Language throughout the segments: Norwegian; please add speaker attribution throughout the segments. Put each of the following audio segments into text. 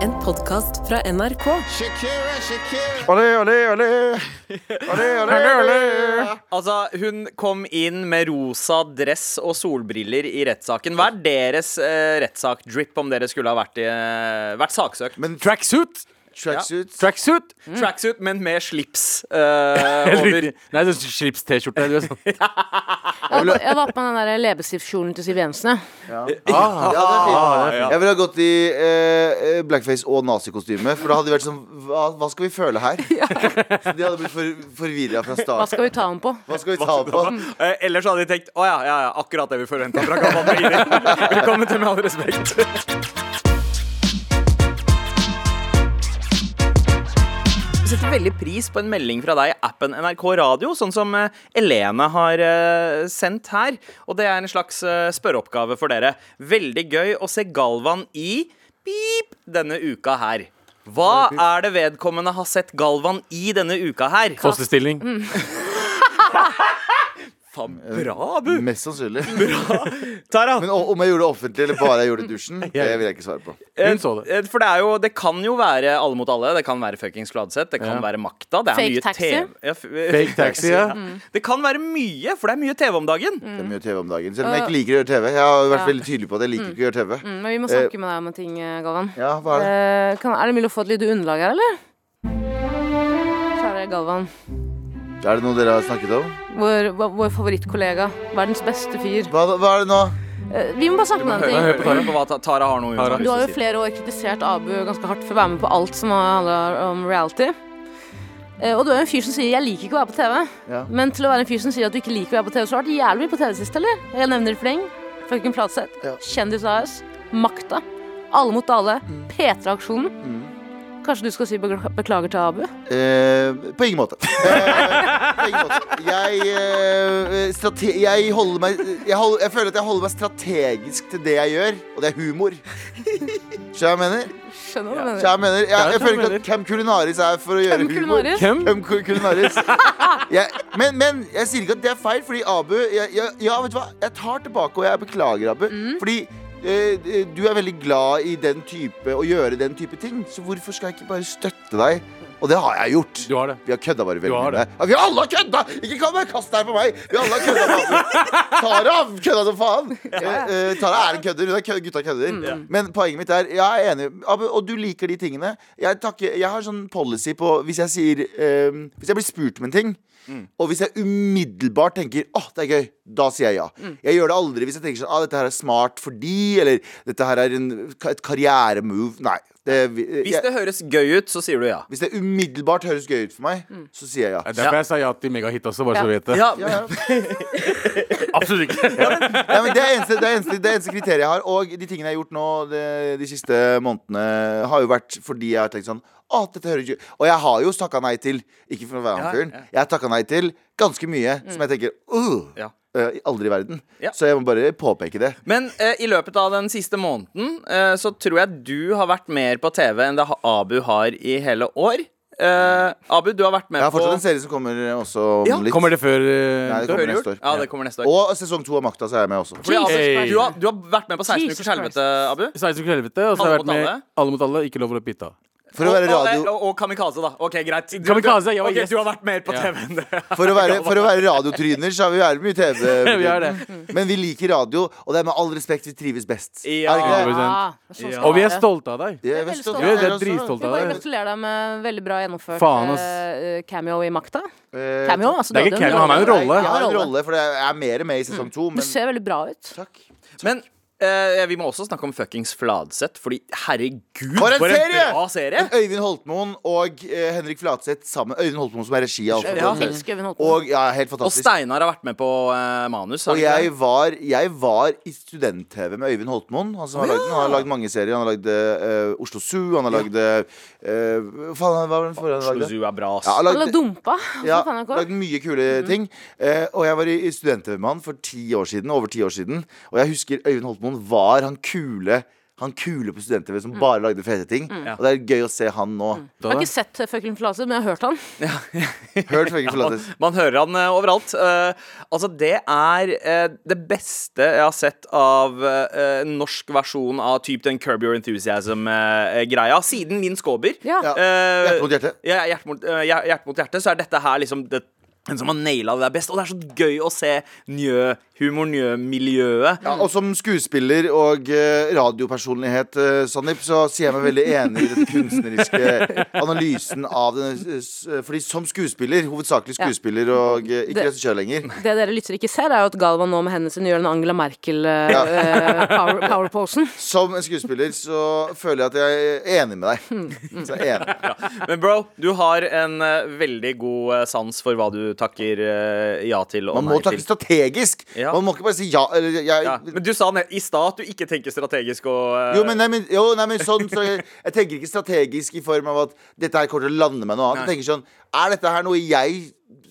Speaker 1: podkast fra NRK.
Speaker 2: Shakira, Shakira.
Speaker 3: Olé, olé, olé. Olé, olé, olé.
Speaker 4: Altså, hun kom inn med rosa dress og solbriller i rettssaken. Hva er deres eh, rettssak-drip om dere skulle ha vært, i, eh, vært saksøkt?
Speaker 3: Men tra
Speaker 5: Tracksuit!
Speaker 3: tracksuit
Speaker 5: Tracksuit!
Speaker 4: Tracksuit, men med slips eh,
Speaker 5: Helt
Speaker 4: over.
Speaker 5: riktig. Nei, sånn slips-T-skjorte. du er sånn.
Speaker 6: Jeg var på- jeg var på den der leppestiftkjolen til Siv Jensen, jeg.
Speaker 3: Ah, Ja, det er fint. Jeg ville ha gått i eh, eh, blackface og nazikostyme, for da hadde de vært sånn Hva, hva skal vi føle her? Så de hadde blitt for, forvirra fra
Speaker 6: Hva
Speaker 3: start.
Speaker 6: skal vi ta den på?
Speaker 3: Hva skal vi ta på?
Speaker 4: Eh, ellers hadde de tenkt å ja, ja, ja, akkurat det vi forventa fra Galvan Begini. Velkommen til Med all respekt. Vi setter veldig pris på en melding fra deg i appen NRK Radio, sånn som eh, Elene har eh, sendt her. Og det er en slags eh, spørreoppgave for dere. Veldig gøy å se Galvan i pip denne uka her. Hva er det vedkommende har sett Galvan i denne uka her?
Speaker 5: Fosterstilling.
Speaker 4: Faen, bra, Bu!
Speaker 3: Mest sannsynlig.
Speaker 4: Tara,
Speaker 3: Men o- om jeg gjorde det offentlig eller bare jeg gjorde det i dusjen, det vil jeg ikke svare på.
Speaker 5: Hun så det.
Speaker 4: Eh, For det, er jo, det kan jo være alle mot alle. Det kan være fuckings Gladseth. Det kan
Speaker 5: Ja.
Speaker 4: være Makta. Det er
Speaker 6: Fake
Speaker 4: mye
Speaker 6: taxi.
Speaker 4: TV. Ja, f- Mm.
Speaker 5: Fake taxi, ja.
Speaker 4: Det kan være mye, for det er mye TV om dagen.
Speaker 6: Mm.
Speaker 3: Det er mye TV om dagen. Selv om jeg ikke liker å gjøre TV. Jeg har jo vært
Speaker 6: Ja.
Speaker 3: veldig tydelig på at jeg liker ikke å gjøre TV.
Speaker 6: Mm, Men vi må snakke med deg om en ting, eh, Galvan.
Speaker 3: Ja, hva er det?
Speaker 6: Eh, kan, er det mulig å få et lite underlag her, eller? Kjære Galvan.
Speaker 3: Er det noe dere har snakket om?
Speaker 6: Vår, vår favorittkollega. Verdens beste fyr.
Speaker 3: Hva, hva er det nå?
Speaker 6: Eh, vi må bare snakke med deg om en ting.
Speaker 5: Hør på Tara.
Speaker 4: Hør på hva Ta- Tara har noe hun
Speaker 5: Tara.
Speaker 4: har lyst
Speaker 6: Du har
Speaker 4: til
Speaker 6: jo
Speaker 4: å si.
Speaker 6: flere år kritisert Abu ganske hardt for å være med på alt som handler om reality. Eh, Og du er jo en fyr som sier 'jeg liker ikke å være på TV'.
Speaker 3: Ja.
Speaker 6: Men til å være en fyr som sier at du ikke liker å være på TV, så har du vært jævlig mye på TV sist, eller? Jeg nevner Fleng, Frøken Flatseth,
Speaker 3: Ja.
Speaker 6: Kjendis AS, Makta, Alle mot alle,
Speaker 5: Mm.
Speaker 6: P3-aksjonen. Kanskje du skal si bekla- beklager til Abu?
Speaker 3: Eh, på ingen måte. Eh, på ingen måte. Jeg, eh, strate jeg holder meg jeg, hold, jeg føler at jeg holder meg strategisk til det jeg gjør, og det er humor. Skjønner du hva jeg mener?
Speaker 6: Skjønner du hva
Speaker 3: Skjønner du hva jeg, mener? Jeg, jeg føler ikke at Cam Culinaris er for å gjøre
Speaker 6: Hvem
Speaker 3: humor.
Speaker 6: kulinaris?
Speaker 5: Hvem?
Speaker 3: Cam Cul- Culinaris. Jeg, men, men jeg sier ikke at det er feil, fordi Abu jeg, jeg, Ja, vet du hva? Jeg tar tilbake, og jeg beklager, Abu. Fordi eh, du er veldig glad i den type å gjøre den type ting, så hvorfor skal jeg ikke bare støtte deg? Og det har jeg gjort.
Speaker 5: Du har det.
Speaker 3: Vi har kødda bare veldig
Speaker 5: Du har
Speaker 3: mye. Ja, vi har alle har kødda! Ikke kom og kast deg på meg! Vi har alle har kødda masse. Tara har kødda som faen. Eh, eh, Tara er en kødder. Hun er kø gutta kødder. Men poenget mitt er, jeg er enig, Abu, og du liker de tingene. Jeg, takker, jeg har sånn policy på hvis jeg sier eh, Hvis jeg blir spurt om en ting, og hvis jeg umiddelbart tenker åh, det er gøy, da sier jeg ja. Jeg gjør det aldri hvis jeg tenker sånn ah, dette her er smart fordi, eller dette her er en, et karrieremove. Nei. Det, eh,
Speaker 4: Hvis
Speaker 3: jeg,
Speaker 4: det høres gøy ut, så sier du ja.
Speaker 3: hvis det umiddelbart høres gøy ut for meg, så sier jeg ja.
Speaker 5: Det er derfor jeg sa ja til megahit også, bare så du vet det.
Speaker 4: Ja,
Speaker 3: Ja, ja.
Speaker 5: Absolutt ikke.
Speaker 3: Nei, men det, er eneste, det, er eneste, det er eneste kriteriet jeg har. Og de tingene jeg har gjort nå de, de siste månedene, har jo vært fordi jeg har tenkt sånn Å, dette hører ikke Og jeg har jo takka nei til Ikke for å være han
Speaker 4: Ja,
Speaker 3: fyren.
Speaker 4: ja.
Speaker 3: Jeg har takka nei til ganske mye som jeg tenker «Åh,
Speaker 4: Ja.
Speaker 3: øh, Aldri i verden.
Speaker 4: Ja.
Speaker 3: Så jeg må bare påpeke det.
Speaker 4: Men eh, i løpet av den siste måneden eh, så tror jeg du har vært mer på TV enn det ha- Abu har i hele år. Eh, Abu, du har vært med
Speaker 3: Jeg har
Speaker 4: på
Speaker 3: fortsatt en serie som kommer også om
Speaker 4: Ja,
Speaker 3: litt.
Speaker 5: Kommer det før
Speaker 3: Nei,
Speaker 5: eh,
Speaker 3: det kommer
Speaker 4: Før jul.
Speaker 3: neste år.
Speaker 4: Ja, det kommer neste år.
Speaker 3: Og sesong to av Makta, så er jeg med også.
Speaker 4: Fordi, Abu,
Speaker 5: Jesus Christ.
Speaker 4: du, har, du har vært med på 16
Speaker 6: Jesus
Speaker 4: ukers helvete, Abu.
Speaker 5: 16 uker helvete? Og så har
Speaker 4: Alle
Speaker 5: jeg vært
Speaker 4: mot
Speaker 5: med
Speaker 4: alle?
Speaker 5: Alle mot alle, ikke lov å løpe hytta.
Speaker 3: For å være
Speaker 4: Og- og-
Speaker 3: radio...
Speaker 4: Og, og kamikaze, da. Ok, greit. Du,
Speaker 5: Kamikaze, jeg var
Speaker 4: ok,
Speaker 5: gjest.
Speaker 4: du har vært mer på
Speaker 5: Ja.
Speaker 4: TV enn det.
Speaker 3: For å være, for å være radiotryner så har vi jævlig mye TV.
Speaker 5: Vi er det.
Speaker 3: Men vi liker radio, og det er med all respekt vi trives best.
Speaker 4: Ja.
Speaker 3: Er det ikke det?
Speaker 6: Ah, sånn skal
Speaker 5: Og vi
Speaker 6: det
Speaker 5: er
Speaker 6: være.
Speaker 5: stolte av deg.
Speaker 3: Vi er
Speaker 6: veldig
Speaker 3: veldig stolte
Speaker 6: stolte.
Speaker 3: av
Speaker 5: Vi er
Speaker 3: dere også.
Speaker 6: Vi
Speaker 5: dritstolte av
Speaker 6: bare
Speaker 5: deg.
Speaker 6: gratulerer deg med veldig bra gjennomført
Speaker 5: Faen, ass.
Speaker 6: eh, cameo i Makta.
Speaker 3: Eh,
Speaker 6: Cameo, altså,
Speaker 5: Det er
Speaker 6: du
Speaker 5: ikke
Speaker 6: hadde jo en
Speaker 5: cameo, han er jo
Speaker 6: rolle.
Speaker 5: rolle.
Speaker 3: Jeg har en
Speaker 6: rolle.
Speaker 3: rolle, for jeg er mer med i sesong to.
Speaker 6: Du
Speaker 3: Men
Speaker 6: ser veldig bra ut.
Speaker 3: takk.
Speaker 4: Men eh, vi må også snakke om fuckings Fladseth, fordi herregud,
Speaker 3: For en serie!
Speaker 4: bra serie!
Speaker 3: Men Øyvind Holtmoen og eh, Henrik Flatseth sammen. Øyvind Holtmoen som er regi. av Alfa
Speaker 6: Ja.
Speaker 3: Blå.
Speaker 6: Elsker Øyvind Holten.
Speaker 3: Og ja, helt
Speaker 4: Og
Speaker 3: fantastisk.
Speaker 4: Steinar har vært med på eh, manus. har
Speaker 3: Og
Speaker 4: han ikke
Speaker 3: jeg var, jeg var i student-TV med Øyvind Holtmoen. Han, som har lagd, den. han har lagd mange serier. Han har lagd eh, Oslo Zoo, han har lagd eh, Hva faen, hva var den forrige
Speaker 4: det?
Speaker 3: han
Speaker 4: Oslo
Speaker 3: lagde?
Speaker 4: Zoo er bra, ass.
Speaker 3: Ja, han
Speaker 6: Alle
Speaker 3: lagde,
Speaker 6: dumpa.
Speaker 3: ja,
Speaker 6: Ja, faen jeg
Speaker 3: lagd mye kule
Speaker 6: Mm.
Speaker 3: ting. Eh, og jeg var i, i student-TV med han for ti år siden, over ti år siden. Og jeg husker Øyvind Holtmoen var han kule han kule på student-TV
Speaker 6: Mm.
Speaker 3: som bare lagde fete ting. Og det er gøy å se han nå.
Speaker 6: Jeg har ikke sett Fucking Flase, men jeg har hørt han.
Speaker 3: Hørt Føgge forlates.
Speaker 4: Man hører han eh, overalt. Eh, altså, det er eh, det beste jeg har sett av eh, en norsk versjon av typ den Curb Your Enthusiasm-greia, siden min skåber.
Speaker 6: Ja.
Speaker 3: Ja.
Speaker 4: Eh,
Speaker 3: Hjerte mot hjerte.
Speaker 4: Ja, hjerte mot, eh, hjer- hjerte mot hjerte, så er dette her liksom det, den som har naila det der best. Og det er så gøy å se njø, humor-njø-miljøet.
Speaker 3: Ja, og som skuespiller og eh, radiopersonlighet, eh, Sandeep, så sier jeg meg veldig enig i den kunstneriske analysen av den. eh, s- Fordi som skuespiller, hovedsakelig skuespiller og eh, ikke
Speaker 6: Det-
Speaker 3: regissør lenger
Speaker 6: Det dere lyttere ikke ser, er jo at Galvan nå med hennes gjør den Angela eh,
Speaker 3: Ja.
Speaker 6: Merkel-powerposen.
Speaker 3: Som en skuespiller så føler jeg at jeg er enig med deg.
Speaker 6: Hmm.
Speaker 3: Så jeg er enig.
Speaker 4: Men bro, du har en eh, veldig god eh, sans for hva du takker eh, ja til og
Speaker 3: Man må
Speaker 4: nei
Speaker 3: takke
Speaker 4: til.
Speaker 3: strategisk.
Speaker 4: Ja.
Speaker 3: Man må ikke bare si ja eller jeg,
Speaker 4: Ja. Men du sa ne- i stad at du ikke tenker strategisk og eh,
Speaker 3: Jo, men, nei, men, jo, nei, men sånn, så jeg, jeg tenker ikke strategisk i form av at dette her kommer til å lande meg noe annet. Jeg tenker sånn, Er dette her noe jeg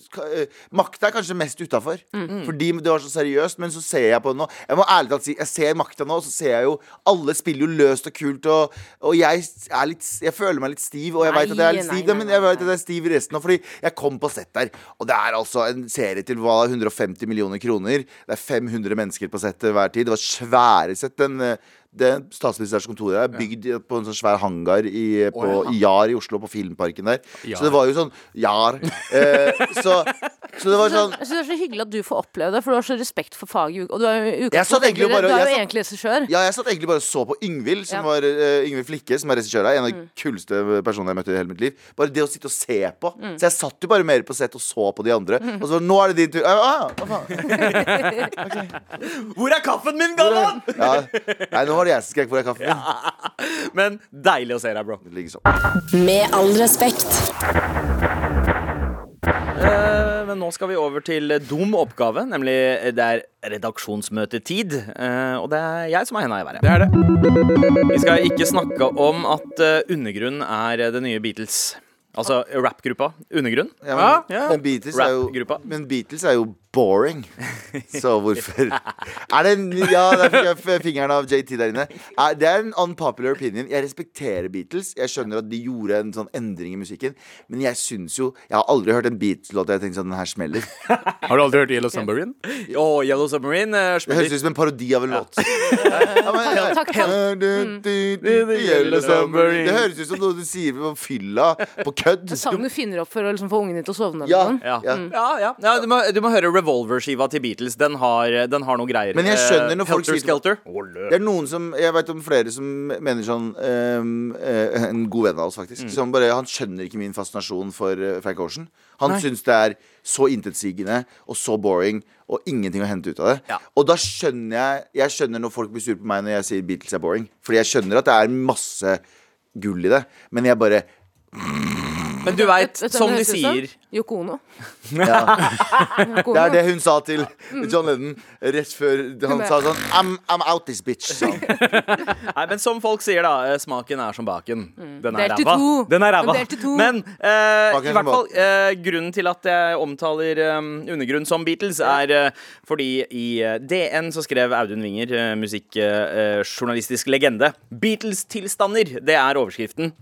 Speaker 3: ska- eh, Makta er kanskje mest utafor,
Speaker 6: Mm.
Speaker 3: fordi det var så seriøst. Men så ser jeg på det nå. Jeg må ærlig talt si, jeg ser makta nå, og så ser jeg jo Alle spiller jo løst og kult, og, og jeg, er litt, jeg føler meg litt stiv. Og jeg
Speaker 6: Nei,
Speaker 3: vet at jeg er
Speaker 6: nei,
Speaker 3: litt stiv,
Speaker 6: nei,
Speaker 3: men
Speaker 6: nei,
Speaker 3: jeg vet
Speaker 6: nei.
Speaker 3: at jeg er stiv i resten nå, fordi jeg kom på sett der. Og det er altså en serie til hva, 150 millioner kroner. Det er 500 mennesker på sett til hver tid. Det var svære sett. Den, eh, det statsministerens kontor er bygd i- på en sånn svær hangar i, eh, på i Jar i Oslo, på Filmparken der. Så det var jo sånn Jar. Eh, så, så det var
Speaker 6: Jeg
Speaker 3: sånn
Speaker 6: synes det er så hyggelig at du får oppleve det, for du har så respekt for faget. Og du er jo, i
Speaker 3: Jeg satt egentlig
Speaker 6: utgangspunktet-
Speaker 3: bare-
Speaker 6: du er
Speaker 3: jeg
Speaker 6: jo
Speaker 3: satt-
Speaker 6: egentlig regissør.
Speaker 3: Ja, jeg satt egentlig bare og så på Yngvild, som
Speaker 6: Ja.
Speaker 3: var eh, Yngvild Flikke, som er regissør her. En av de kuleste personene jeg møtte i hele mitt liv. Bare det å sitte og se på. Så jeg satt jo bare mer på sett og så på de andre. Og så var det, nå er det din tur. Ah, ah, hva faen?
Speaker 4: Hvor er kaffen min, Galvan?!
Speaker 3: Ja. Nei, nå var det jeg som skrek hvor er kaffen. Ja.
Speaker 4: Men deilig å se deg, bro.
Speaker 3: sånn.
Speaker 1: Med all respekt.
Speaker 4: Eh, men nå skal vi over til dum oppgave, nemlig eh, det er redaksjonsmøtetid. eh, og det er jeg som er henda i været.
Speaker 5: Det er det.
Speaker 4: Vi skal ikke snakke om at eh, Undergrunn er eh, det nye Beatles. Altså rappgruppa Undergrunn.
Speaker 3: men,
Speaker 5: Ja, ja.
Speaker 3: men, Beatles er jo,
Speaker 4: Rap-gruppa.
Speaker 3: men Beatles er jo boring. Så hvorfor Er det en Ja, der fikk jeg f- fingeren av JT der inne. Er- Det er en unpopular opinion. Jeg respekterer Beatles. Jeg skjønner at de gjorde en sånn endring i musikken. Men jeg syns jo Jeg har aldri hørt en Beatles-låt der jeg tenkte sånn, den her smeller.
Speaker 5: Har du aldri hørt Yellow Submarine?
Speaker 4: Og Yellow Submarine. eh,
Speaker 3: Det
Speaker 4: spiller-
Speaker 3: høres ut som en parodi av en låt. Ja, men-
Speaker 6: Takk, takk.
Speaker 3: Du, du, du, du, Yellow Submarine. Det høres ut som noe du sier på fylla, på kødd.
Speaker 6: Sangen du finner opp for å liksom få ungene til å sovne. eller
Speaker 3: Ja,
Speaker 6: noe.
Speaker 4: Ja.
Speaker 3: ja.
Speaker 4: Ja, ja. ja du, må, du må høre Revolver-skiva til Beatles. Den har, den har noe greier.
Speaker 3: Men jeg skjønner
Speaker 4: Eh,
Speaker 3: når folk
Speaker 4: Helter
Speaker 3: sier-
Speaker 4: Skelter.
Speaker 3: Det er noen som, Jeg vet om flere som mener sånn ehm, eh, En god venn av oss, faktisk. Som bare, Han skjønner ikke min fascinasjon for eh, Frank Ocean. Han syns det er så intetsigende og så boring og ingenting å hente ut av det.
Speaker 4: Ja.
Speaker 3: Og da skjønner jeg Jeg skjønner når folk blir sure på meg når jeg sier Beatles er boring. Fordi jeg skjønner at det er masse gull i det. Men jeg bare
Speaker 4: Men du veit,
Speaker 6: Vet du hvem
Speaker 4: som de
Speaker 6: det høres ut
Speaker 4: sier
Speaker 6: som? Yoko Ono.
Speaker 3: ja.
Speaker 6: Yoko
Speaker 3: Det
Speaker 6: Ono.
Speaker 3: er det hun sa til John Lennon rett før han sa sånn I'm, I'm out this bitch. sa han.
Speaker 4: Nei, men som folk sier, da. eh, Smaken er som baken. Den er
Speaker 6: Delt i
Speaker 4: ræva.
Speaker 6: Mm. to.
Speaker 4: Den er ræva.
Speaker 6: Den delt i to.
Speaker 4: Men
Speaker 3: Smaken
Speaker 4: eh, i
Speaker 3: er
Speaker 4: hvert
Speaker 3: som
Speaker 4: fall eh, grunnen til at jeg omtaler eh, Undergrunn som Beatles, er eh, fordi i eh, DN så skrev Audun Winger, uh, musikkjournalistisk legende, 'Beatles-tilstander'. Det er overskriften.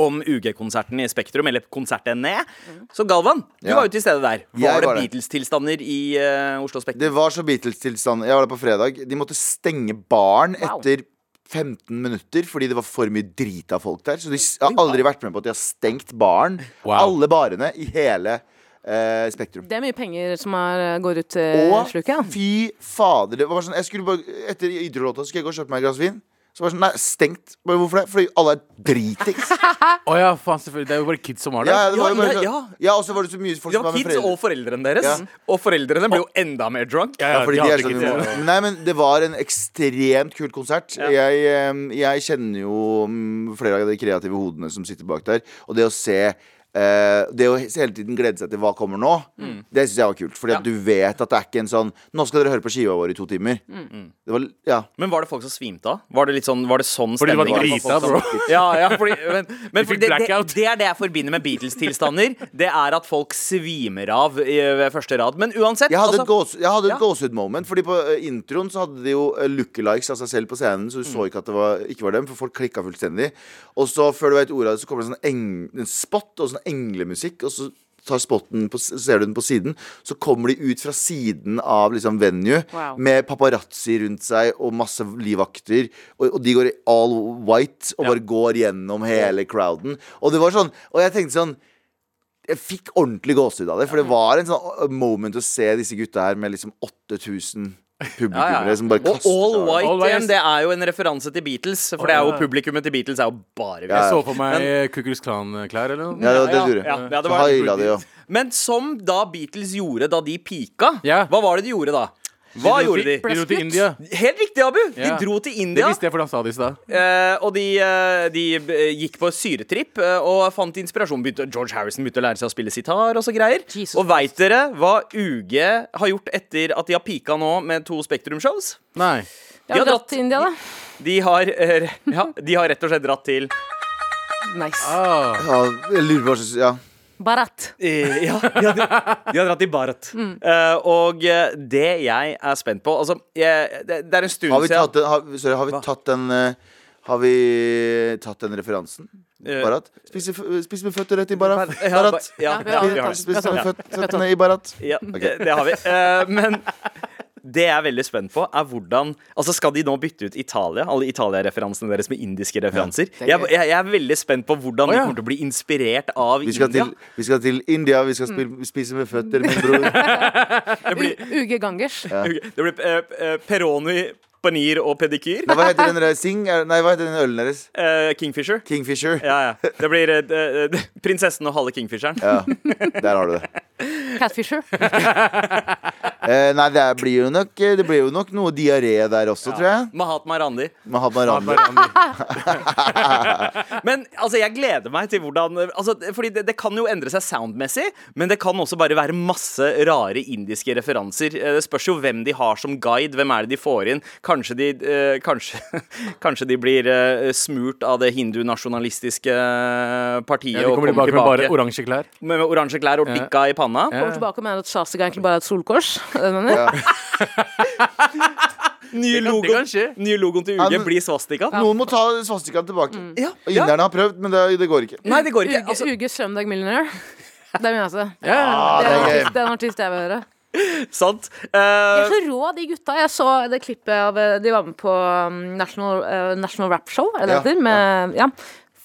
Speaker 4: Om UG-konserten i Spektrum, eller konsertene.
Speaker 6: Mm.
Speaker 4: Så Galvan, du
Speaker 3: Ja.
Speaker 4: var jo til stede der. Var
Speaker 3: var
Speaker 4: det
Speaker 3: det.
Speaker 4: Beatles-tilstander i eh, Oslo Spektrum?
Speaker 3: Det var så Beatles-tilstand. Jeg var der på fredag. De måtte stenge baren
Speaker 6: Wow.
Speaker 3: etter 15 minutter fordi det var for mye drita folk der. Så de s- har aldri vært med på at de har stengt baren.
Speaker 5: Wow.
Speaker 3: Alle barene i hele eh, Spektrum.
Speaker 6: Det er mye penger som er, eh, går ut til
Speaker 3: Og
Speaker 6: sluket. ja.
Speaker 3: fy fader. Det var sånn, jeg skulle bare, etter Idrettlåta skulle jeg gå og kjøpe meg et glass vin. Så var det sånn, nei, stengt. Bare, hvorfor det? Fordi alle er dritings.
Speaker 5: Å ja, faen, selvfølgelig. Det er jo bare kids som har det.
Speaker 3: Ja, det var jo
Speaker 4: Ja,
Speaker 3: bare
Speaker 4: ja,
Speaker 3: sånn-
Speaker 4: ja.
Speaker 3: ja, og så var det så mye folk
Speaker 4: Det
Speaker 3: som var
Speaker 4: var
Speaker 3: med
Speaker 4: kids og
Speaker 3: foreldre.
Speaker 4: foreldrene deres.
Speaker 3: Ja.
Speaker 4: Og foreldrene ble jo enda mer drunk.
Speaker 5: Ja,
Speaker 3: Ja, fordi
Speaker 5: de
Speaker 3: de er
Speaker 5: hater
Speaker 3: sånn vi
Speaker 5: kids.
Speaker 3: må- Nei, men det var en ekstremt kult konsert. Jeg, eh, jeg kjenner jo mm, flere av de kreative hodene som sitter bak der. Og det å se eh, Det å hele tiden glede seg til hva kommer nå, det syns jeg var kult. Fordi
Speaker 4: Ja.
Speaker 3: at du vet at det er ikke en sånn Nå skal dere høre på skiva vår i to timer. Det var, ja
Speaker 4: Men var det folk som svimte av? Var det litt sånn, var det sånn
Speaker 5: Fordi du var
Speaker 4: stemning? det
Speaker 5: drita, bro.
Speaker 4: Ja, ja, fordi, men, men
Speaker 5: fikk
Speaker 4: fordi det, det,
Speaker 5: blackout.
Speaker 4: det er det jeg forbinder med Beatles-tilstander. Det er at folk svimer av i, ved første rad. Men uansett
Speaker 3: Jeg hadde
Speaker 4: altså-
Speaker 3: et gås- jeg hadde et
Speaker 4: Ja.
Speaker 3: gåsehud-moment. Fordi på eh, introen så hadde de jo eh, lookalikes av seg selv på scenen, så du så
Speaker 4: Mm.
Speaker 3: ikke at det var, ikke var dem, for folk klikka fullstendig. Og så, før du vet ordet av det, så kommer det sånn eng, en spot og sånn englemusikk, og så tar spotten på, s- ser du den på siden, så kommer de ut fra siden av liksom venue
Speaker 6: Wow.
Speaker 3: med paparazzi rundt seg og masse livvakter, og, og de går i all white og bare går gjennom hele crowden. Og det var sånn, og jeg tenkte sånn jeg fikk ordentlig gåsehud av det. For det var en sånn moment å se disse gutta her med liksom 8000 publikummere
Speaker 4: Ja, ja.
Speaker 3: som bare
Speaker 4: Og
Speaker 3: kaster
Speaker 4: All
Speaker 3: seg over.
Speaker 4: White
Speaker 5: All White.
Speaker 4: igjen, det er jo en referanse til Beatles. For det er jo publikummet til Beatles er jo bare vi.
Speaker 5: Jeg så for meg Kukuls Klan-klær eller noe.
Speaker 3: Ja, det var det du gjorde.
Speaker 4: Ja, ja, det
Speaker 3: så
Speaker 4: var-
Speaker 3: haila det jo.
Speaker 4: Men som da Beatles gjorde da de pika,
Speaker 5: Ja.
Speaker 4: hva var det de gjorde da? Hva gjorde de?
Speaker 5: De dro til India.
Speaker 4: Helt riktig, Abu! De
Speaker 5: Ja.
Speaker 4: dro til
Speaker 5: Det
Speaker 4: India,
Speaker 5: visste jeg, for han sa det i stad.
Speaker 4: eh, og de, eh, de eh, gikk på syretripp eh, og fant inspirasjon. Begynte, George Harrison begynte å lære seg å spille sitar og så greier.
Speaker 6: Jesus
Speaker 4: Og veit dere hva UG har gjort etter at de har pika nå med to Spektrum-shows?
Speaker 5: Nei.
Speaker 6: Jeg har
Speaker 4: De har
Speaker 6: dratt til India, da.
Speaker 4: De har, eh, ja, de har rett og slett dratt til
Speaker 6: Nice.
Speaker 5: Ah.
Speaker 3: Ja, jeg lurer på hva slags Ja.
Speaker 6: Barat.
Speaker 4: Eh, ja, de har, de har dratt i Bharat.
Speaker 6: Mm.
Speaker 4: Eh, og eh, det jeg er spent på Altså, jeg, det, det er en stund
Speaker 3: Har vi
Speaker 4: siden
Speaker 3: tatt den har, Sorry, har vi tatt den eh, Har vi tatt den referansen?
Speaker 4: Eh,
Speaker 3: Barat? Spise, f- spise med føtter rett i barat.
Speaker 4: Ja,
Speaker 3: barat.
Speaker 4: ba- ja,
Speaker 6: Ja, vi har
Speaker 4: ja,
Speaker 6: det.
Speaker 3: Spise, spise med føt- føttene i barat.
Speaker 4: ja, det, det har vi. Eh, men det jeg er veldig spent på, er hvordan Altså, Skal de nå bytte ut Italia, alle Italia-referansene deres med indiske referanser?
Speaker 6: er
Speaker 4: Jeg,
Speaker 6: gøy.
Speaker 4: jeg, jeg er veldig spent på hvordan
Speaker 5: Å,
Speaker 4: de
Speaker 5: ja.
Speaker 4: kommer til å bli inspirert av
Speaker 3: Vi skal,
Speaker 4: India.
Speaker 3: til, vi skal til India, vi skal
Speaker 4: Mm.
Speaker 3: spille, spise med føtter, min bror.
Speaker 6: U- Uge Gangers.
Speaker 4: Det blir eh, eh, Peroni, paneer og pedikyr.
Speaker 3: Nei, hva heter den der? Sing? Er- Nei, hva heter den ølen deres?
Speaker 4: Eh, Kingfisher.
Speaker 3: Kingfisher?
Speaker 4: Ja, ja. Det blir eh, eh, prinsessen og halve Kingfisheren.
Speaker 3: Ja. Der har du det.
Speaker 6: Catfisher.
Speaker 3: Eh, nei, det er- blir jo nok eh, Det blir jo nok noe diaré der også, tror jeg.
Speaker 4: Mahatma Randi.
Speaker 3: Med Haban Randi.
Speaker 4: Men altså, jeg gleder meg til hvordan altså, Fordi det, det kan jo endre seg soundmessig, men det kan også bare være masse rare indiske referanser. Eh, Det spørs jo hvem de har som guide. Hvem er det de får inn? Kanskje de, eh, kanskje, kanskje de blir eh, smurt av det hindunasjonalistiske eh, partiet
Speaker 5: Ja, de
Speaker 4: og
Speaker 5: kommer tilbake med bare oransje klær.
Speaker 4: med, med oransje klær og
Speaker 5: Ja.
Speaker 4: pikka i panna.
Speaker 6: Kommer tilbake og mener at Shazig egentlig bare er et solkors. Er det det du mener?
Speaker 4: Nye logoen, nye logoen til
Speaker 3: Ja,
Speaker 4: UG
Speaker 3: men-
Speaker 4: blir svastika.
Speaker 3: Noen må ta svastikaen tilbake.
Speaker 4: Ja,
Speaker 3: Og Inderne har prøvd, men det, det går ikke.
Speaker 4: Nei, det går ikke.
Speaker 6: Uge,
Speaker 4: Altså,
Speaker 6: Uge Sømdag Millionaire. Det er min altså.
Speaker 5: Ja,
Speaker 4: Ah.
Speaker 6: Det er en artist,
Speaker 3: det er
Speaker 6: det er en artist jeg vil høre.
Speaker 4: sant.
Speaker 6: De
Speaker 4: Eh,
Speaker 6: er så rå, de gutta. Jeg så det klippet av eh, De var med på um, National, eh, National Rap Show, er det
Speaker 3: Ja,
Speaker 6: det heter? Med, ja.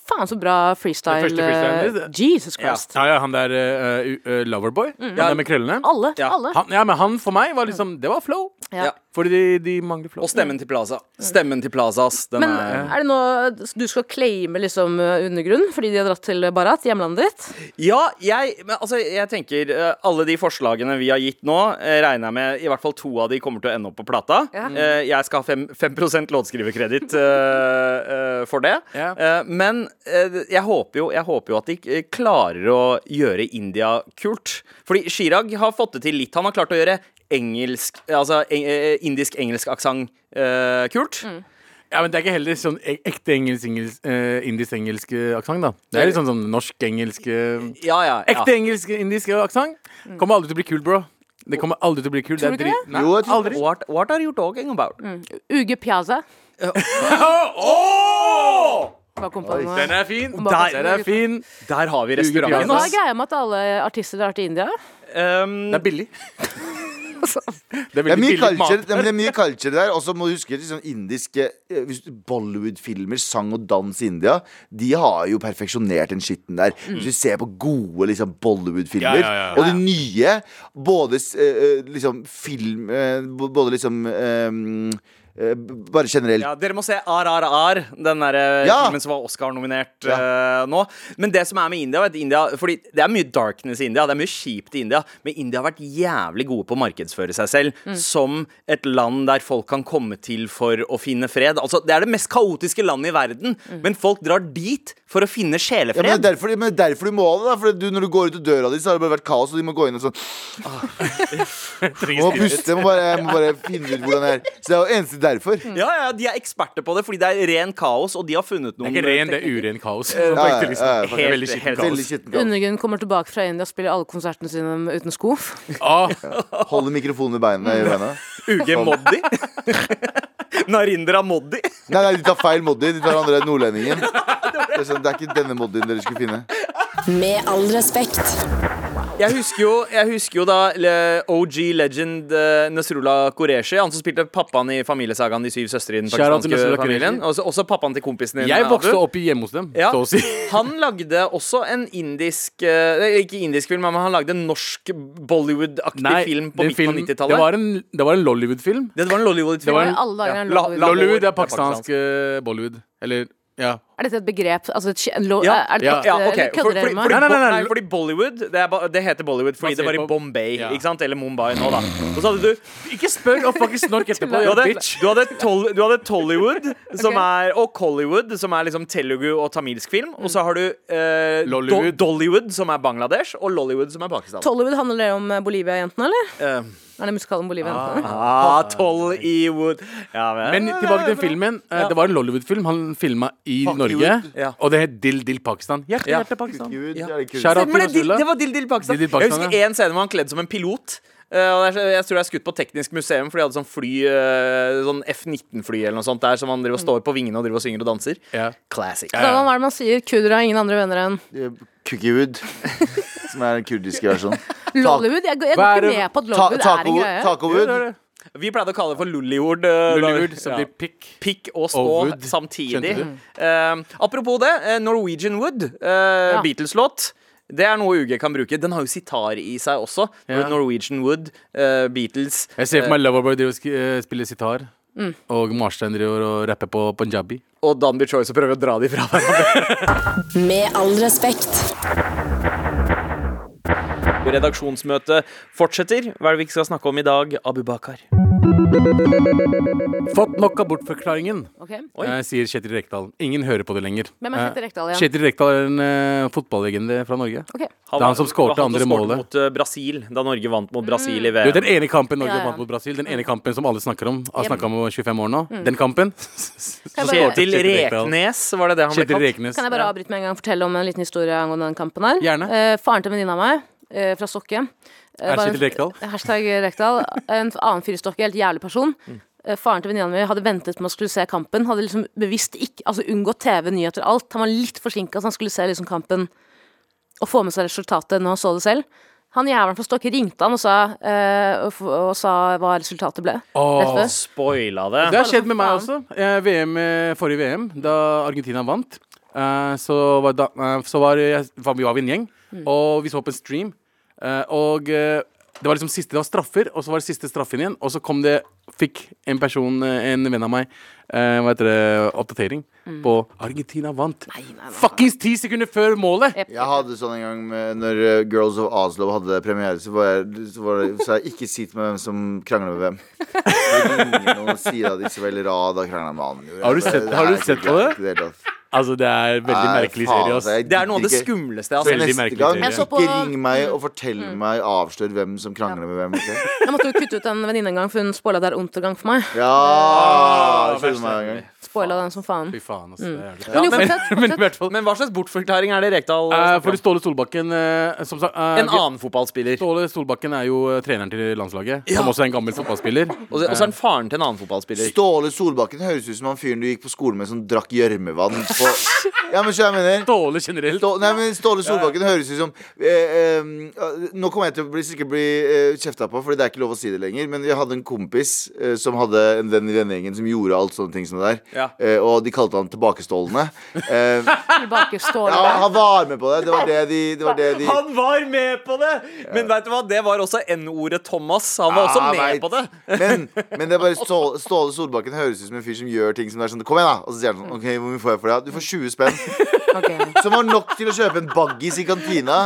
Speaker 6: Faen så bra freestyle.
Speaker 5: Den første freestylen,
Speaker 6: eh, Jesus
Speaker 4: Ja.
Speaker 6: Christ.
Speaker 5: ja, ja han der eh, u- eh, Loverboy. Han der med krøllene.
Speaker 6: Alle.
Speaker 4: Ja.
Speaker 6: Mm. alle.
Speaker 5: Han, ja, men han for meg var liksom Det var flow.
Speaker 4: ja.
Speaker 5: Fordi de, de mangler flow.
Speaker 4: Og stemmen til Plaza. Stemmen til Plaza, ass. Den
Speaker 6: Men
Speaker 4: er
Speaker 6: er det nå du skal claime liksom eh, undergrunn fordi de har dratt til Barat, hjemlandet ditt?
Speaker 4: Ja, jeg, men altså, jeg tenker eh, alle de forslagene vi har gitt nå, eh, regner jeg med i hvert fall to av de kommer til å ende opp på plata.
Speaker 6: Ja.
Speaker 4: Eh, jeg skal ha fem- 5 låtskriverkreditt eh, eh, for det.
Speaker 5: Ja.
Speaker 4: Eh, men eh, jeg, håper jo, jeg håper jo at de eh, klarer å gjøre India kult. Fordi Chirag har fått det til litt. Han har klart å gjøre engelsk, altså eng, eh, indisk-engelsk aksent eh, kult.
Speaker 5: Mm. Ja, men Det er ikke heller sånn e- ekte engelsk, engelsk, eh, indisk-engelsk eh, aksent, da. Det er litt sånn, sånn norsk-engelsk eh,
Speaker 4: Ja, ja, ja.
Speaker 5: Ekte engelsk-indisk aksent kommer aldri til å bli kul, bro. Det kommer aldri til å bli kul.
Speaker 6: Mm. Tror du
Speaker 5: det?
Speaker 6: ikke
Speaker 5: er drit- Nei,
Speaker 3: Jo, jeg tror-
Speaker 5: aldri.
Speaker 4: What, what are you talking about?
Speaker 5: Mm.
Speaker 6: Uge Piazza.
Speaker 5: Åh!
Speaker 6: Hva kom på nå?
Speaker 5: Den er fin.
Speaker 6: Der-
Speaker 5: Den er fin.
Speaker 4: Der har vi restauranten.
Speaker 6: Hva
Speaker 5: Jonas.
Speaker 6: er greia med at alle artister drar til India?
Speaker 4: Um,
Speaker 5: Det er billig. Det er
Speaker 3: Det er
Speaker 5: veldig
Speaker 3: mye
Speaker 5: billig
Speaker 3: culture,
Speaker 5: mat.
Speaker 3: ja, men det er mye culture der. Og så må du huske liksom, indiske eh, hvis du- Bollywood-filmer, sang og dans i India. De har jo perfeksjonert den skitten der. Hvis du ser på gode liksom, Bollywood-filmer,
Speaker 5: Mm. Ja, ja, ja, ja.
Speaker 3: og de nye Både eh, eh, liksom film eh, b- Både liksom eh, eh, b- bare generelt.
Speaker 4: Ja, dere må se RRR, den der eh,
Speaker 3: Ja.
Speaker 4: filmen som var Oscar-nominert
Speaker 3: Ja.
Speaker 4: eh, nå. Men det som er med India, vet, du, India Fordi det er mye darkness i India, det er mye kjipt i India, men India har vært jævlig gode på å markedsføre seg selv
Speaker 5: Mm.
Speaker 4: som et land der folk kan komme til for å finne fred. Altså, Det er det mest kaotiske landet i verden,
Speaker 5: Mm.
Speaker 4: men folk drar dit for å finne
Speaker 3: Ja,
Speaker 4: sjelefred.
Speaker 3: men det er derfor, men det er derfor du må det, da. For du, når du går ut av døra di, så har det bare vært kaos, og de må gå inn og sånn Må puste, må bare, må bare finne ut hvordan det er. Så det er jo eneste derfor.
Speaker 6: Mm.
Speaker 4: ja, ja, De er eksperter på det, fordi det er ren kaos, og de har funnet
Speaker 5: Det
Speaker 4: noen
Speaker 5: er ikke ren, det er uren kaos. Sånn på
Speaker 3: ja, ja,
Speaker 5: ekte,
Speaker 3: ja,
Speaker 5: liksom. Det er veldig skitten
Speaker 3: Veldig
Speaker 5: kaos.
Speaker 3: skitten kaos.
Speaker 6: Undergrunn kommer tilbake fra India og spiller alle konsertene sine uten sko.
Speaker 5: Ah,
Speaker 3: Holder mikrofonen i beina. I beina.
Speaker 4: UG Moddi. Narindra Moddi.
Speaker 3: Nei, nei, de tar feil Moddi. De tar andre nordlendingen. Det er, sånn, det er ikke denne Moddien dere skulle finne.
Speaker 1: Med all respekt.
Speaker 4: Jeg husker jo, jeg husker jo da le- OG legend eh, Nasrullah Qureshi, han som spilte pappaen i familiesagaen De syv søstre i den
Speaker 5: Shout out til
Speaker 4: pakistanske
Speaker 5: Nasrullah
Speaker 4: familien.
Speaker 5: Qureshi.
Speaker 4: Også, også pappaen til kompisen din.
Speaker 5: jeg vokste
Speaker 4: Abu.
Speaker 5: opp i- hjemme hos dem,
Speaker 4: Ja.
Speaker 5: så å si.
Speaker 4: Han lagde også en indisk eh, nei, Ikke indisk film, men han lagde en norsk Bollywood-aktig film på
Speaker 5: den
Speaker 4: midten av
Speaker 5: film-
Speaker 4: 90-tallet.
Speaker 5: det var en, det var en Lollywood-film.
Speaker 4: Det var en
Speaker 5: Det var
Speaker 4: Lollywood-film.
Speaker 5: en-
Speaker 6: I alle dager
Speaker 5: ja.
Speaker 6: er en
Speaker 4: La-
Speaker 6: Lollywood.
Speaker 4: la-
Speaker 5: Lollywood er
Speaker 4: Det er pakistansk.
Speaker 5: pakistansk eh, Bollywood. Eller ja.
Speaker 6: Er dette et begrep? Altså et, skje- en lo,
Speaker 4: Ja,
Speaker 6: er det
Speaker 5: ja,
Speaker 6: et,
Speaker 4: Ja, ok
Speaker 6: eller
Speaker 4: for,
Speaker 6: kødder
Speaker 4: fordi,
Speaker 6: dere med
Speaker 4: fordi,
Speaker 6: meg?
Speaker 5: Nei, nei, nei,
Speaker 4: nei,
Speaker 5: nei.
Speaker 4: fordi Bollywood det, er ba, det heter Bollywood fordi det
Speaker 5: Basert
Speaker 4: var i
Speaker 5: på-
Speaker 4: Bombay
Speaker 5: Ja.
Speaker 4: ikke sant? eller Mumbai nå, da. Og så hadde du
Speaker 5: Ikke spør om fuckings snork etterpå,
Speaker 4: Du
Speaker 5: you
Speaker 4: hadde,
Speaker 5: bitch.
Speaker 4: du hadde, tol, du hadde Tollywood som er, og Collywood, som er liksom telugu og tamilsk film. Og så har du eh, do,
Speaker 5: Lollywood.
Speaker 4: Dollywood, som er Bangladesh, og Lollywood, som er Pakistan.
Speaker 6: Tollywood handler det om eh, Bolivia-jentene, eller?
Speaker 4: Eh,
Speaker 6: Er det musikalen Bolivia-jentene?
Speaker 4: ah, Tollywood. Ja,
Speaker 5: Men tilbake til filmen. Eh, Det var en Lollywood-film han filma i Norge.
Speaker 4: Ja.
Speaker 5: Og det het Dill Dill Pakistan. Hjerte,
Speaker 4: Ja.
Speaker 5: hjerte Pakistan.
Speaker 3: Gud,
Speaker 4: Ja.
Speaker 3: er det kult.
Speaker 5: Shout out
Speaker 4: Stemmer
Speaker 5: til
Speaker 4: det, Dil-
Speaker 5: Rasulullah.
Speaker 4: det var Dill Dill Pakistan.
Speaker 5: Dil Dil Pakistan,
Speaker 4: jeg husker en scene hvor han kledde som en pilot. Eh, og det er så- jeg tror jeg er skutt på Teknisk museum, for de hadde sånn fly eh, Sånn F-19-fly eller noe sånt der som han driver og står på vingene og driver og synger og danser.
Speaker 5: Ja.
Speaker 4: Classic.
Speaker 6: Da, hva er det man sier? Kudra, ingen andre venner enn
Speaker 3: Eh, Cookiewood, som er den kurdiske versjonen.
Speaker 6: Lollywood? Jeg, går- jeg
Speaker 5: Hva er
Speaker 6: går
Speaker 5: det-
Speaker 6: ikke med på at
Speaker 3: Ta
Speaker 6: Lollywood er en
Speaker 3: taco,
Speaker 6: greie.
Speaker 3: tacowood.
Speaker 4: Vi pleide å kalle det for Lullywood. eh, da-
Speaker 5: Lollywood, som
Speaker 4: Ja.
Speaker 5: blir pikk.
Speaker 4: pikk og stå
Speaker 5: Og wood.
Speaker 4: samtidig.
Speaker 5: Skjønte
Speaker 4: Eh, apropos det, eh, Norwegian Wood, eh, Beatles-låt. Det er noe UG kan bruke. Den har jo sitar i seg også.
Speaker 5: Ja.
Speaker 4: Norwegian Wood, eh, Beatles
Speaker 5: Jeg ser for meg Loverboy driver og sk- eh, spiller sitar.
Speaker 6: Mm.
Speaker 5: Og Marstein driver og rapper på punjabi.
Speaker 4: og Danby Choice og prøver å dra de fra hverandre.
Speaker 1: Med all respekt.
Speaker 4: Redaksjonsmøtet fortsetter. Hva er det vi ikke skal snakke om i dag, Abubakar?
Speaker 5: Fått nok av bortforklaringen,
Speaker 6: Ok.
Speaker 5: eh, sier Kjetil Rekdal. Ingen hører på det lenger.
Speaker 6: Hvem er Kjetil Rekdal igjen?
Speaker 5: Eh, Kjetil Rekdal er en eh, fotballegende fra Norge.
Speaker 6: Ok.
Speaker 5: Det er han som skårte
Speaker 4: han som
Speaker 5: andre
Speaker 4: skårte
Speaker 5: målet.
Speaker 4: mot eh, Brasil, da Norge vant mot Brasil i
Speaker 5: Du, vet,
Speaker 4: VM.
Speaker 5: den ene kampen Norge
Speaker 6: Ja, ja.
Speaker 5: vant mot Brasil, den ene kampen som alle snakker om, har
Speaker 6: Yep.
Speaker 5: snakket om i 25 år nå, den kampen
Speaker 6: Mm. Kan jeg, bare,
Speaker 4: Kjetil Reknes, var det det han ble
Speaker 5: Kjetil
Speaker 4: kalt?
Speaker 5: Reknes.
Speaker 6: kan jeg bare avbryte med en gang og fortelle om en liten historie angående den kampen her?
Speaker 5: Gjerne.
Speaker 6: Eh, faren til en venninne av meg, eh, fra Stokke eh,
Speaker 5: Er
Speaker 6: var en-
Speaker 5: Kjetil Rekdal?
Speaker 6: Hashtag Rekdal. En annen fyr i Stokke, helt jævlig person.
Speaker 5: Mm.
Speaker 6: Eh, Faren til venninna mi hadde ventet med å skulle se kampen. Hadde liksom bevisst ikke, altså unngått TV, nyheter, alt. Han var litt forsinka, så han skulle se liksom kampen og få med seg resultatet når han så det selv. Han jævelen fra Stokke ringte han og sa, eh, og, f- og sa hva resultatet ble. Rett
Speaker 5: Åh,
Speaker 6: før.
Speaker 4: Spoila det.
Speaker 5: Det har skjedd med meg også. Eh, VM, eh, forrige VM, da Argentina vant, eh, så var, da, eh, så var, jeg, var vi var vi en gjeng,
Speaker 6: Mm.
Speaker 5: og vi så på en stream. eh, og eh, det var liksom siste, det var straffer, og så var det siste straffen igjen. Og så kom det, fikk en person, eh, en venn av meg, eh, hva heter det, oppdatering
Speaker 6: Mm.
Speaker 5: på Argentina vant. Fuckings ti sekunder før målet!
Speaker 6: Jep.
Speaker 3: Jeg hadde sånn en gang med, Når eh, Girls of Oslo hadde premiere, så, var jeg, så, var det, så jeg ikke sitt med hvem som krangler med hvem. Det ringer noen og sier at Isabel Rad har krangla med han.
Speaker 5: Har du sett- har du sett på det? Altså, det er en veldig merkelig serie.
Speaker 3: altså,
Speaker 5: ass.
Speaker 4: Det er noe av det skumleste jeg har sett.
Speaker 5: Veldig
Speaker 3: Veldig
Speaker 5: merkelig
Speaker 3: merkelig gang,
Speaker 5: serie.
Speaker 6: Jeg så på- Mm.
Speaker 3: Ikke ring meg og fortell meg, avslør hvem som krangler med hvem. ok?
Speaker 6: Jeg måtte jo kutte ut en venninne en gang, for hun spoila der Untergang for meg.
Speaker 5: Ah,
Speaker 3: Ja! det skjedde meg en gang.
Speaker 6: Spoila den som faen.
Speaker 5: Fy faen, ass. Det er jævlig.
Speaker 6: Men jo,
Speaker 4: men-
Speaker 6: fortsett.
Speaker 5: Men i
Speaker 6: fortsett.
Speaker 5: hvert fall
Speaker 4: Men hva slags bortforklaring er det Rekdal
Speaker 5: eh,
Speaker 4: snakker
Speaker 5: For
Speaker 4: om?
Speaker 5: Ståle Solbakken eh, som sagt, eh,
Speaker 4: En
Speaker 5: vi-
Speaker 4: annen fotballspiller. Og
Speaker 5: Ståle Solbakken er jo eh, treneren til landslaget, som også er en gammel fotballspiller.
Speaker 4: så og så er han faren til en annen fotballspiller.
Speaker 3: Ståle Solbakken høres ut som han fyren du gikk på skolen med som drakk gjørmevann på på Ja, men skjønner du hva jeg mener?
Speaker 5: Dårlig generelt.
Speaker 3: Stå, nei, men Ståle Solbakken høres ut som eh, eh, Nå kommer jeg til å bli, sikkert bli eh, kjefta på, Fordi det er ikke lov å si det lenger. Men jeg hadde en kompis eh, som hadde en venn i vennegjengen som gjorde alt sånne ting som det der.
Speaker 4: Ja.
Speaker 3: Eh, og de kalte han Tilbakestålende. Eh,
Speaker 6: Tilbake står
Speaker 3: ja, han var med på det. Det var det de, det var det de
Speaker 4: Han var med på det! Men veit du hva, det var også N-ordet Thomas. Han var også
Speaker 3: Ja,
Speaker 4: med
Speaker 3: jeg
Speaker 4: på det.
Speaker 3: vet. Men, men det er bare Ståle, Ståle Solbakken høres ut som en fyr som gjør ting som det er sånn Kom igjen, da! Og så sier han sånn OK, hvor mye får jeg for det? Du får 20 spenn. Som var nok til å kjøpe en baggis i kantina.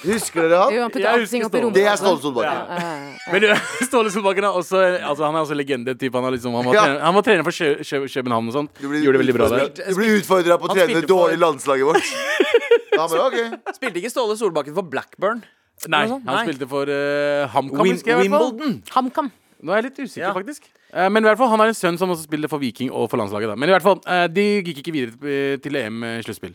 Speaker 3: Husker dere han?
Speaker 6: Jo, han putter
Speaker 5: Jeg
Speaker 6: alt
Speaker 5: husker
Speaker 6: ting opp i
Speaker 5: Ståle.
Speaker 6: rommet. Eh,
Speaker 3: Det er Ståle Solbakken.
Speaker 5: Men du, Ståle Solbakken er også altså, Han er også legende. Typ. Han, er liksom, han, var
Speaker 3: Ja.
Speaker 5: trener, han var trener for Kjø Kjø København og sånt. Gjorde det veldig bra der.
Speaker 3: Du blir utfordra på å
Speaker 4: Han
Speaker 3: trene
Speaker 4: spilte
Speaker 3: det
Speaker 4: for-
Speaker 3: dårlige landslaget vårt. Da bare, ok
Speaker 4: Spilte ikke Ståle Solbakken for Blackburn?
Speaker 5: Nei,
Speaker 4: Sånn, Nei.
Speaker 5: han spilte for eh, HamKam.
Speaker 4: Wim
Speaker 5: husker jeg i hvert fall.
Speaker 4: Wimbledon?
Speaker 6: HamKam.
Speaker 5: Nå er jeg litt usikker,
Speaker 4: Ja.
Speaker 5: faktisk. Eh, men i hvert fall, han har en sønn som også spiller for Viking og for landslaget. Da. Men i hvert fall, eh, de gikk ikke videre eh, til EM-sluttspill.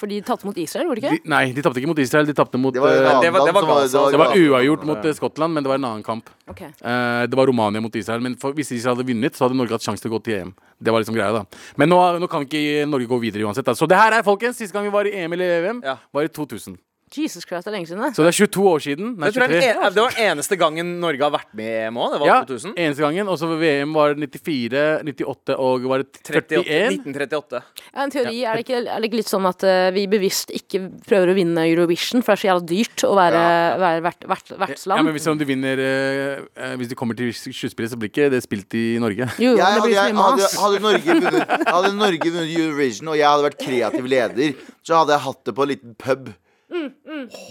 Speaker 6: For de talte mot Israel, gjorde de
Speaker 5: De,
Speaker 6: ikke?
Speaker 5: nei, de tapte ikke mot Israel. De tapte mot
Speaker 3: Det var, en
Speaker 5: eh,
Speaker 3: annen
Speaker 4: det var- det var
Speaker 3: land som
Speaker 4: Gaza, altså.
Speaker 5: Det var uavgjort mot eh, Skottland, men det var en annen kamp.
Speaker 6: Ok.
Speaker 5: Eh, det var Romania mot Israel, men for, hvis Israel hadde vunnet, så hadde Norge hatt sjanse til å gå til EM. Det var liksom greia, da. Men nå, nå kan ikke Norge gå videre uansett. Da. Så det her er, folkens, siste gang vi var i EM eller EVM,
Speaker 4: Ja.
Speaker 5: var i 2000.
Speaker 6: Jesus Christ, det er lenge siden. det.
Speaker 5: Så det er 22 år siden. Nei,
Speaker 4: Det, tror jeg er den
Speaker 5: 23.
Speaker 4: en, e- det var den eneste gangen Norge har vært med i EM òg. Det var
Speaker 5: Ja,
Speaker 4: 2000.
Speaker 5: eneste gangen. Og så VM var det 94, 98 og var det
Speaker 4: 38,
Speaker 5: 41.
Speaker 4: 1938.
Speaker 6: Ja, en teori, er det, ikke, er det ikke litt sånn at eh, vi bevisst ikke prøver å vinne Eurovision, for det er så jævla dyrt å være, være vert, vert,
Speaker 5: Ja,
Speaker 6: vertsland?
Speaker 5: men hvis om du vinner eh, eh, Hvis du kommer til sluttspillet, så blir ikke det spilt i Norge.
Speaker 6: Jo, men
Speaker 3: Jeg
Speaker 6: det
Speaker 3: hadde,
Speaker 6: blir så
Speaker 3: jeg,
Speaker 6: mye
Speaker 3: hadde,
Speaker 6: mas.
Speaker 3: hadde, Norge vunnet, hadde Norge vunnet Eurovision, og jeg hadde vært kreativ leder, så hadde jeg hatt det på en liten pub.
Speaker 6: Mm,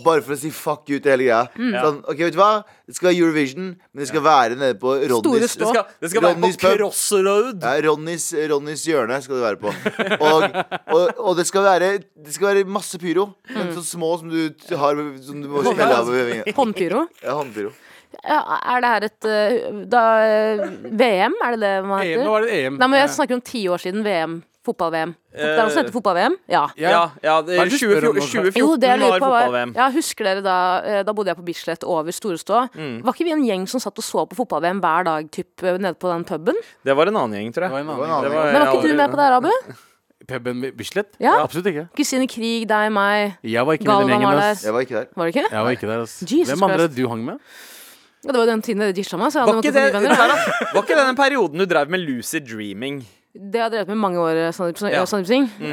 Speaker 3: Bare for å si fuck you til hele greia. Sånn, ok, vet du hva? Det skal være Eurovision, men det skal være nede på Ronnys
Speaker 4: Det skal, det skal være på
Speaker 3: Ronnys pub.
Speaker 4: crossroad.
Speaker 3: Ja, Ronnys, Ronnys hjørne skal det være på. Og, og, og det, skal være, det skal være masse pyro. Men så små som du t- har Som du må smelle av med vingene.
Speaker 6: Håndpyro.
Speaker 3: Ja, håndpyro.
Speaker 6: Ja, er det her et eh, da, eh, VM, er det det man
Speaker 5: EM, nå
Speaker 6: heter?
Speaker 5: var det EM.
Speaker 6: Nei, men jeg snakker om ti år siden VM. Fotball-VM.
Speaker 5: Eh,
Speaker 6: Det er noe som heter fotball-VM? Ja.
Speaker 5: Ja.
Speaker 4: Ja, ja det,
Speaker 5: Hva er det du spør om nå?
Speaker 4: 2014, 2014
Speaker 6: Jo, det jeg
Speaker 4: var
Speaker 6: lurer på var
Speaker 4: fotball-VM.
Speaker 6: ja, Husker dere da eh, Da bodde jeg på Bislett over Storestå.
Speaker 4: Mm.
Speaker 6: Var ikke vi en gjeng som satt og så på fotball-VM hver dag typ, eh, nede på den puben?
Speaker 4: Det var en annen gjeng, tror
Speaker 5: Det var
Speaker 4: jeg.
Speaker 5: en
Speaker 3: Det var en
Speaker 5: annen.
Speaker 3: annen
Speaker 4: Det var-
Speaker 3: gang.
Speaker 6: Men var
Speaker 4: ja,
Speaker 6: ikke du med på det her, Abu?
Speaker 5: Puben ved Bislett?
Speaker 6: Ja.
Speaker 5: Absolutt ikke.
Speaker 6: Kristine Krig, deg, meg.
Speaker 5: Jeg var ikke med i den
Speaker 6: Galvan
Speaker 5: gjengen.
Speaker 6: var
Speaker 5: ass.
Speaker 6: der.
Speaker 3: Jeg var ikke der.
Speaker 6: Var det ikke?
Speaker 5: Jeg var ikke der, ass.
Speaker 6: Jesus
Speaker 5: Hvem andre
Speaker 6: Christ.
Speaker 5: du hang med?
Speaker 6: Ja, det var jo den tiden dere ditcha meg. Så jeg
Speaker 4: Var
Speaker 6: hadde
Speaker 4: ikke,
Speaker 6: måttet få nye
Speaker 4: det,
Speaker 6: venner.
Speaker 4: Tara, var ikke det den perioden du drev med Lucid Dreaming?
Speaker 6: Det har jeg drevet med i mange år. eh, Sandeep Singh.
Speaker 4: Ja. Mm.
Speaker 6: Sandeep Singh. Eh,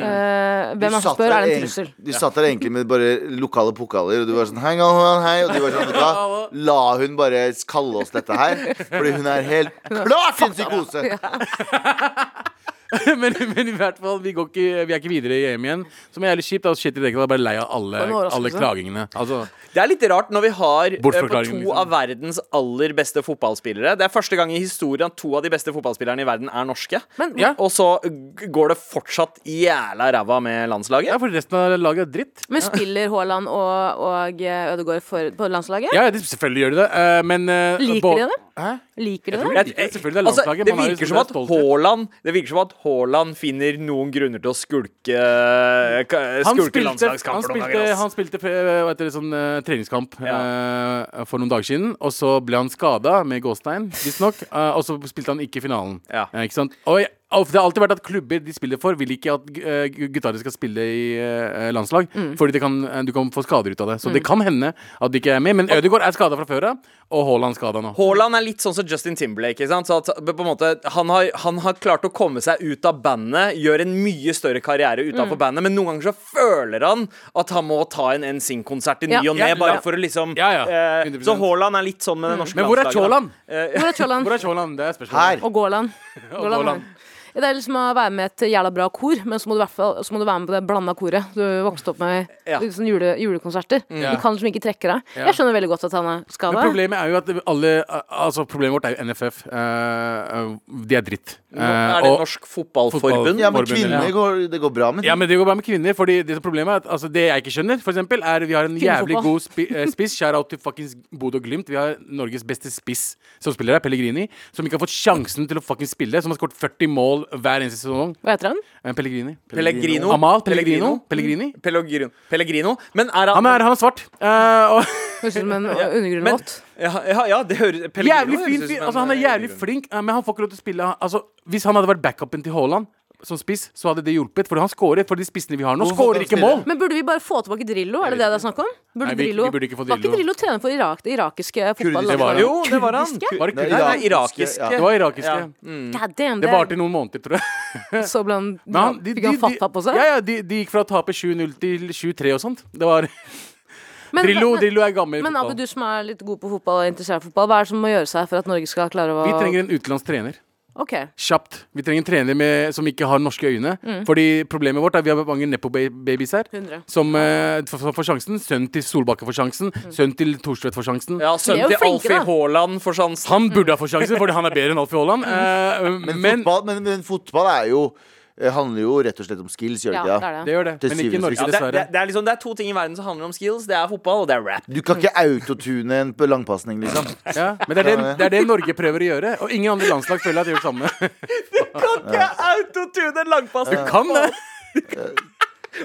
Speaker 6: hvem er det som spør? Er det en trussel?
Speaker 3: Du satt der egentlig med bare lokale pokaler, og du var sånn Hei, Galvan, hei. Og de var sånn, vet du hva? La hun bare kalle oss dette her? Fordi hun er helt klart sin psykose!
Speaker 5: men, men i hvert fall, vi, går ikke, vi er ikke videre i EM igjen. Som er jævlig kjipt. Altså, shit, i det hele tatt, jeg er bare lei av alle,
Speaker 6: en overraskelse.
Speaker 5: alle klagingene. Altså,
Speaker 4: Det er litt rart når vi har eh, på to
Speaker 5: Bortforklaring, liksom.
Speaker 4: av verdens aller beste fotballspillere. Det er første gang i historien at to av de beste fotballspillerne i verden er norske.
Speaker 6: Men-
Speaker 5: Ja.
Speaker 4: Og så g- går det fortsatt jævla ræva med
Speaker 5: ja,
Speaker 4: landslaget.
Speaker 5: for resten av laget er dritt.
Speaker 6: Men spiller Haaland og, og eh, Ødegaard for, på landslaget?
Speaker 5: Ja, ja, de, selvfølgelig gjør de det, eh, men eh,
Speaker 6: Liker
Speaker 5: Bo-
Speaker 6: de det?
Speaker 5: Hæ?
Speaker 6: Liker du
Speaker 5: tror
Speaker 6: det?
Speaker 5: de liker det, selvfølgelig, det er
Speaker 4: altså,
Speaker 5: landslaget,
Speaker 4: det,
Speaker 5: man er jo
Speaker 4: virker
Speaker 5: som
Speaker 4: som at
Speaker 5: er stolt.
Speaker 4: Haaland, det virker som at Haaland finner noen grunner til å skulke, eh, ka-
Speaker 5: Han
Speaker 4: skulke
Speaker 5: spilte, han
Speaker 4: landslagskamper noen
Speaker 5: spilte,
Speaker 4: ganger.
Speaker 5: han
Speaker 4: ass.
Speaker 5: spilte eh, hva heter det, sånn, eh, treningskamp eh, for noen dager siden, og så ble han skada med gåstein, visstnok. Uh, og så spilte han ikke finalen.
Speaker 4: Ja.
Speaker 5: Eh, ikke sant? Og jeg, og det har alltid vært at klubber de spiller for, vil ikke at uh, gitarer skal spille i eh, landslag.
Speaker 4: Mm.
Speaker 5: Fordi det kan, eh, du kan få skader ut av det. Så det kan hende at de ikke er med. Men Ødegaard er skada fra før av, og Haaland skada nå.
Speaker 4: Haaland er litt sånn som Justin Timberlake. Ikke sant? Så at, på en måte, han, har, han har klart å komme seg ut av bandet, gjør en mye større karriere utenfor bandet, men noen ganger så føler han at han må ta en NSYNC-konsert i ny
Speaker 6: Ja.
Speaker 4: og ne,
Speaker 5: Ja,
Speaker 4: bare
Speaker 5: ja.
Speaker 4: for å liksom
Speaker 5: Ja, ja.
Speaker 4: eh,
Speaker 5: 100%.
Speaker 4: Så Haaland er litt sånn med det norske
Speaker 5: Men hvor er
Speaker 4: landslaget, da.
Speaker 5: Haaland?
Speaker 6: Hvor er Haaland?
Speaker 5: Hvor er Haaland? Det er spørsmålet.
Speaker 3: Her.
Speaker 6: Og Gåland. Gåland.
Speaker 5: Gåland.
Speaker 6: Ja, Det er liksom å være med i et jævla bra kor, men så må du, i hvert fall, så må du være med på det blanda koret du vokste opp med i
Speaker 4: Ja.
Speaker 6: liksom jule, julekonserter.
Speaker 5: Mm. Ja.
Speaker 6: Du kan liksom ikke trekke deg.
Speaker 5: Ja.
Speaker 6: Jeg skjønner veldig godt at han er
Speaker 5: Men
Speaker 6: skada.
Speaker 5: problemet er jo at alle Altså, problemet vårt er jo NFF. Eh, de er dritt. Eh,
Speaker 4: Nå Mm. er det
Speaker 5: og-
Speaker 4: Norsk Fotballforbund.
Speaker 3: Ja, men
Speaker 5: Forbundet,
Speaker 3: kvinner
Speaker 5: ja.
Speaker 3: går, det går bra med
Speaker 5: Ja, men det går bare med kvinner. Fordi det som problemet er at altså, Det jeg ikke skjønner, for eksempel, er vi har en
Speaker 6: Kvinnefotball.
Speaker 5: jævlig god spi eh, spiss. Shout out til fuckings Bodø og Glimt. Vi har Norges beste spiss som spiller her, Pellegrini. Som ikke har fått sjansen til å fucking spille. Som har skåret 40 mål hver eneste sesong.
Speaker 6: Hva heter han?
Speaker 5: Eh, Pellegrini.
Speaker 4: Pellegrino. Mm.
Speaker 5: Amal Pellegrino. Pellegrini.
Speaker 4: Pellegrino. Pellegrino. Men er
Speaker 5: Han er, han er svart. Eh, og
Speaker 6: Høres ut som en
Speaker 4: men,
Speaker 6: undergrunnlåt.
Speaker 4: ja, ja, ja, det høres Pellegrino
Speaker 5: Jævlig
Speaker 4: høres
Speaker 5: fin
Speaker 4: ut som
Speaker 5: fyr.
Speaker 4: en,
Speaker 5: Altså, han er
Speaker 4: eh,
Speaker 5: jævlig flink, eh, men han får ikke lov til å spille. Altså, hvis han hadde vært backupen til Haaland som spiss, så hadde det hjulpet. For han skårer, for de spissene vi har nå,
Speaker 3: Hvorfor
Speaker 5: skårer
Speaker 3: kan
Speaker 5: ikke
Speaker 3: han
Speaker 5: mål!
Speaker 6: Men burde vi bare få tilbake Drillo? Er det det det er snakk om? Burde
Speaker 5: Nei, vi-
Speaker 6: Drillo,
Speaker 5: vi burde ikke få
Speaker 6: Var ikke
Speaker 5: Drillo.
Speaker 6: Drillo trener for Irak, det irakiske
Speaker 5: Det var
Speaker 6: fotballandslaget?
Speaker 5: han.
Speaker 4: Jo, det var han.
Speaker 6: Kurdiske?
Speaker 5: Var det
Speaker 3: Nei,
Speaker 5: ikke
Speaker 4: Nei,
Speaker 5: det?
Speaker 4: nei, irakiske.
Speaker 3: Ja.
Speaker 5: Det var irakiske.
Speaker 4: Ja.
Speaker 6: God damn,
Speaker 5: Det varte noen måneder, tror jeg.
Speaker 6: Så ble han,
Speaker 5: Men han- de-
Speaker 6: fikk han
Speaker 5: de- de-
Speaker 6: fatta på seg?
Speaker 5: Ja, ja, de, de gikk fra å tape 7-0 til 7-3 og sånt. Det var
Speaker 6: Men-
Speaker 5: Drillo,
Speaker 6: men-
Speaker 5: Drillo er gammel. i
Speaker 6: Men
Speaker 5: fotball.
Speaker 6: Abu, du som er litt god på fotball og interessert i fotball, hva er det som må gjøre seg for at Norge skal klare å
Speaker 5: Vi trenger en utenlandsk trener.
Speaker 6: Ok,
Speaker 5: Kjapt. Vi trenger en trener med, som ikke har norske øyne.
Speaker 6: Mm.
Speaker 5: Fordi problemet vårt er at vi har mange nepo-babies her.
Speaker 6: 100.
Speaker 5: Som, eh, f- som får sjansen. Sønnen til Solbakken får sjansen.
Speaker 6: Mm.
Speaker 5: Sønnen til Thorstvedt får sjansen.
Speaker 4: Ja,
Speaker 6: De
Speaker 4: sønnen
Speaker 6: er jo
Speaker 4: til
Speaker 6: flinke,
Speaker 4: Alfie
Speaker 6: da.
Speaker 4: Haaland for sånn
Speaker 5: Han burde ha fått sjansen, fordi han er bedre enn Alfie Haaland. Eh,
Speaker 3: Men,
Speaker 5: men
Speaker 3: fotball, men, men fotball er jo eh, handler jo rett og slett om skills, gjør
Speaker 6: ja,
Speaker 3: det
Speaker 6: det
Speaker 3: ikke?
Speaker 6: er
Speaker 5: det
Speaker 6: det.
Speaker 5: gjør det.
Speaker 3: Til
Speaker 5: Men ikke i
Speaker 3: syvende og
Speaker 5: Norge,
Speaker 4: ja, det, er- det,
Speaker 5: dessverre.
Speaker 4: er- det er liksom Det er to ting i verden som handler om skills. Det er fotball, og det er rap.
Speaker 3: Du kan ikke autotune en på langpasning, liksom.
Speaker 5: Ja, men det er det, det er det Norge prøver å gjøre. Og ingen andre landslag føler at de gjør det samme.
Speaker 4: Kan ikke autotune en langpass! Du
Speaker 5: Kan det!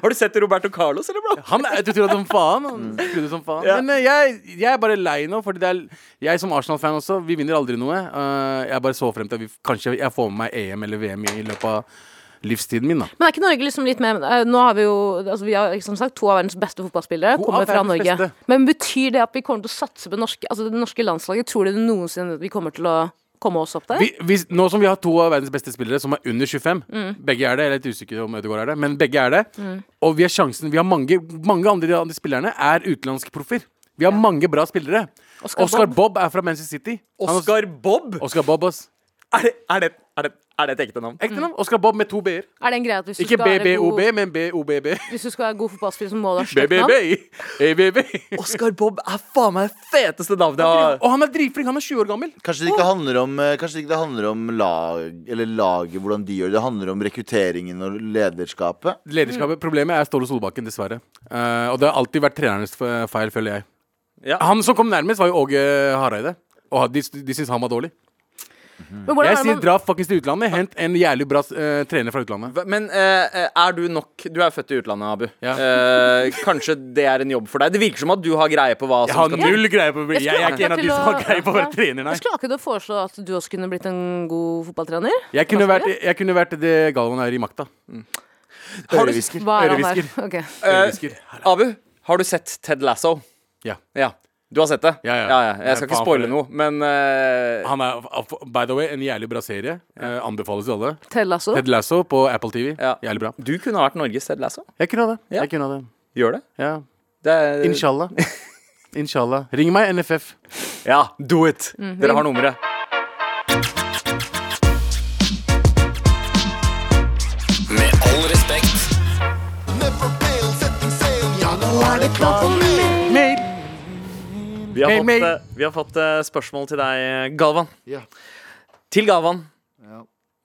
Speaker 4: Har du sett Roberto Carlos, eller, bro?
Speaker 5: Han er autotuna som faen. Han skrudde som faen.
Speaker 4: Ja.
Speaker 5: Mm. Men eh, jeg, jeg er bare lei nå, Fordi det er jeg som Arsenal-fan også, vi vinner aldri noe. Eh, jeg bare så frem til at vi, kanskje jeg får med meg EM eller VM i løpet av livstiden min, da.
Speaker 6: Men er ikke Norge liksom litt mer eh, Nå har vi jo altså vi har, som sagt, to av verdens beste fotballspillere
Speaker 5: To
Speaker 6: kommer
Speaker 5: av
Speaker 6: fra
Speaker 5: verdens
Speaker 6: Norge.
Speaker 5: beste.
Speaker 6: Men betyr det at vi kommer til å satse på norske, altså det norske landslaget? Tror dere noensinne at vi kommer til å komme oss opp der?
Speaker 5: Vi, vi, nå som vi har to av verdens beste spillere som er under 25,
Speaker 6: Mm.
Speaker 5: begge er det, jeg er litt usikker om Ødegaard er det, men begge er det, og vi har sjansen Vi har mange, mange andre av de andre spillerne er utenlandske proffer. Vi har mange bra spillere.
Speaker 6: Oscar
Speaker 5: Oscar, Bob. er fra Manchester City. Han-
Speaker 4: Oscar Bob?
Speaker 5: Oscar Bob, ass.
Speaker 4: Er det, er, det, er, det, er det et ekte navn?
Speaker 5: Ekte navn. Oscar Bob med to b-er.
Speaker 6: Mm. er det en greie at hvis du,
Speaker 5: Ikke
Speaker 6: skal være
Speaker 5: BBOB,
Speaker 6: god,
Speaker 5: men BOBB.
Speaker 6: hvis du skal være god fotballspiller, så må du ha stort
Speaker 5: BBB.
Speaker 6: navn?
Speaker 5: ABB.
Speaker 4: Oscar Bob er faen meg det feteste navnet jeg har.
Speaker 5: Og han er dritflink. Han er 20 år gammel.
Speaker 3: Kanskje det ikke handler om, eh, kanskje det ikke handler om lag, eller laget, hvordan de gjør det. Det handler om rekrutteringen og lederskapet.
Speaker 6: Mm.
Speaker 5: Lederskapet, Problemet er Ståle Solbakken, dessverre. Eh, og det har alltid vært trenernes f- feil, føler jeg.
Speaker 4: Ja.
Speaker 5: Han som kom nærmest, var jo Åge Hareide. Og de, de syns han var dårlig.
Speaker 6: Men hvordan
Speaker 5: Jeg
Speaker 6: er det
Speaker 5: sier
Speaker 6: man-
Speaker 5: dra fuckings til utlandet. Hent en jævlig bra eh, trener fra utlandet.
Speaker 4: Hva- Men eh, er du nok Du er født i utlandet, Abu.
Speaker 5: Ja.
Speaker 4: Eh, kanskje det er en jobb for deg? Det virker som at du har greie på hva
Speaker 5: Jeg
Speaker 4: som
Speaker 5: har
Speaker 4: skal til.
Speaker 5: null greie på Jeg,
Speaker 6: skulle
Speaker 5: jeg er ikke en av de
Speaker 6: akkurat
Speaker 5: som har
Speaker 6: til å-
Speaker 5: greie på å være
Speaker 6: Ja.
Speaker 5: trener, nei.
Speaker 6: Jeg skulle akkurat foreslå at du også kunne blitt en god fotballtrener.
Speaker 5: Jeg kunne vært, jeg kunne vært det Galvan er i makta.
Speaker 4: Eh,
Speaker 3: Ørehvisker.
Speaker 6: Hva er han der?
Speaker 5: Ørehvisker.
Speaker 6: Ok.
Speaker 5: Ørehvisker.
Speaker 4: Abu, har du sett Ted Lasso?
Speaker 5: Ja.
Speaker 4: Ja. Du har sett det?
Speaker 5: Ja, ja.
Speaker 4: Jeg skal
Speaker 5: Jeg er
Speaker 4: ikke
Speaker 5: faen
Speaker 4: spoile
Speaker 5: for det.
Speaker 4: noe, men eh,
Speaker 5: Han er, by the way, en jævlig bra serie. Eh, anbefales til alle.
Speaker 6: Ted Lasso.
Speaker 5: Ted Lasso på Apple TV.
Speaker 4: Ja.
Speaker 5: Jævlig bra.
Speaker 4: Du kunne ha vært Norges Ted Lasso.
Speaker 5: Jeg kunne ha det.
Speaker 4: Ja.
Speaker 5: Jeg kunne ha det.
Speaker 4: Gjør det?
Speaker 5: Ja.
Speaker 4: det er,
Speaker 5: Inshallah. Inshallah. Ring meg, NFF.
Speaker 4: Ja, do it! Dere har nummeret.
Speaker 7: Med all respekt.
Speaker 4: Vi har,
Speaker 5: Mail,
Speaker 4: fått,
Speaker 5: mail.
Speaker 4: eh, vi har fått eh, spørsmål til deg, Galvan.
Speaker 3: Ja.
Speaker 4: Til Galvan.
Speaker 3: Ja.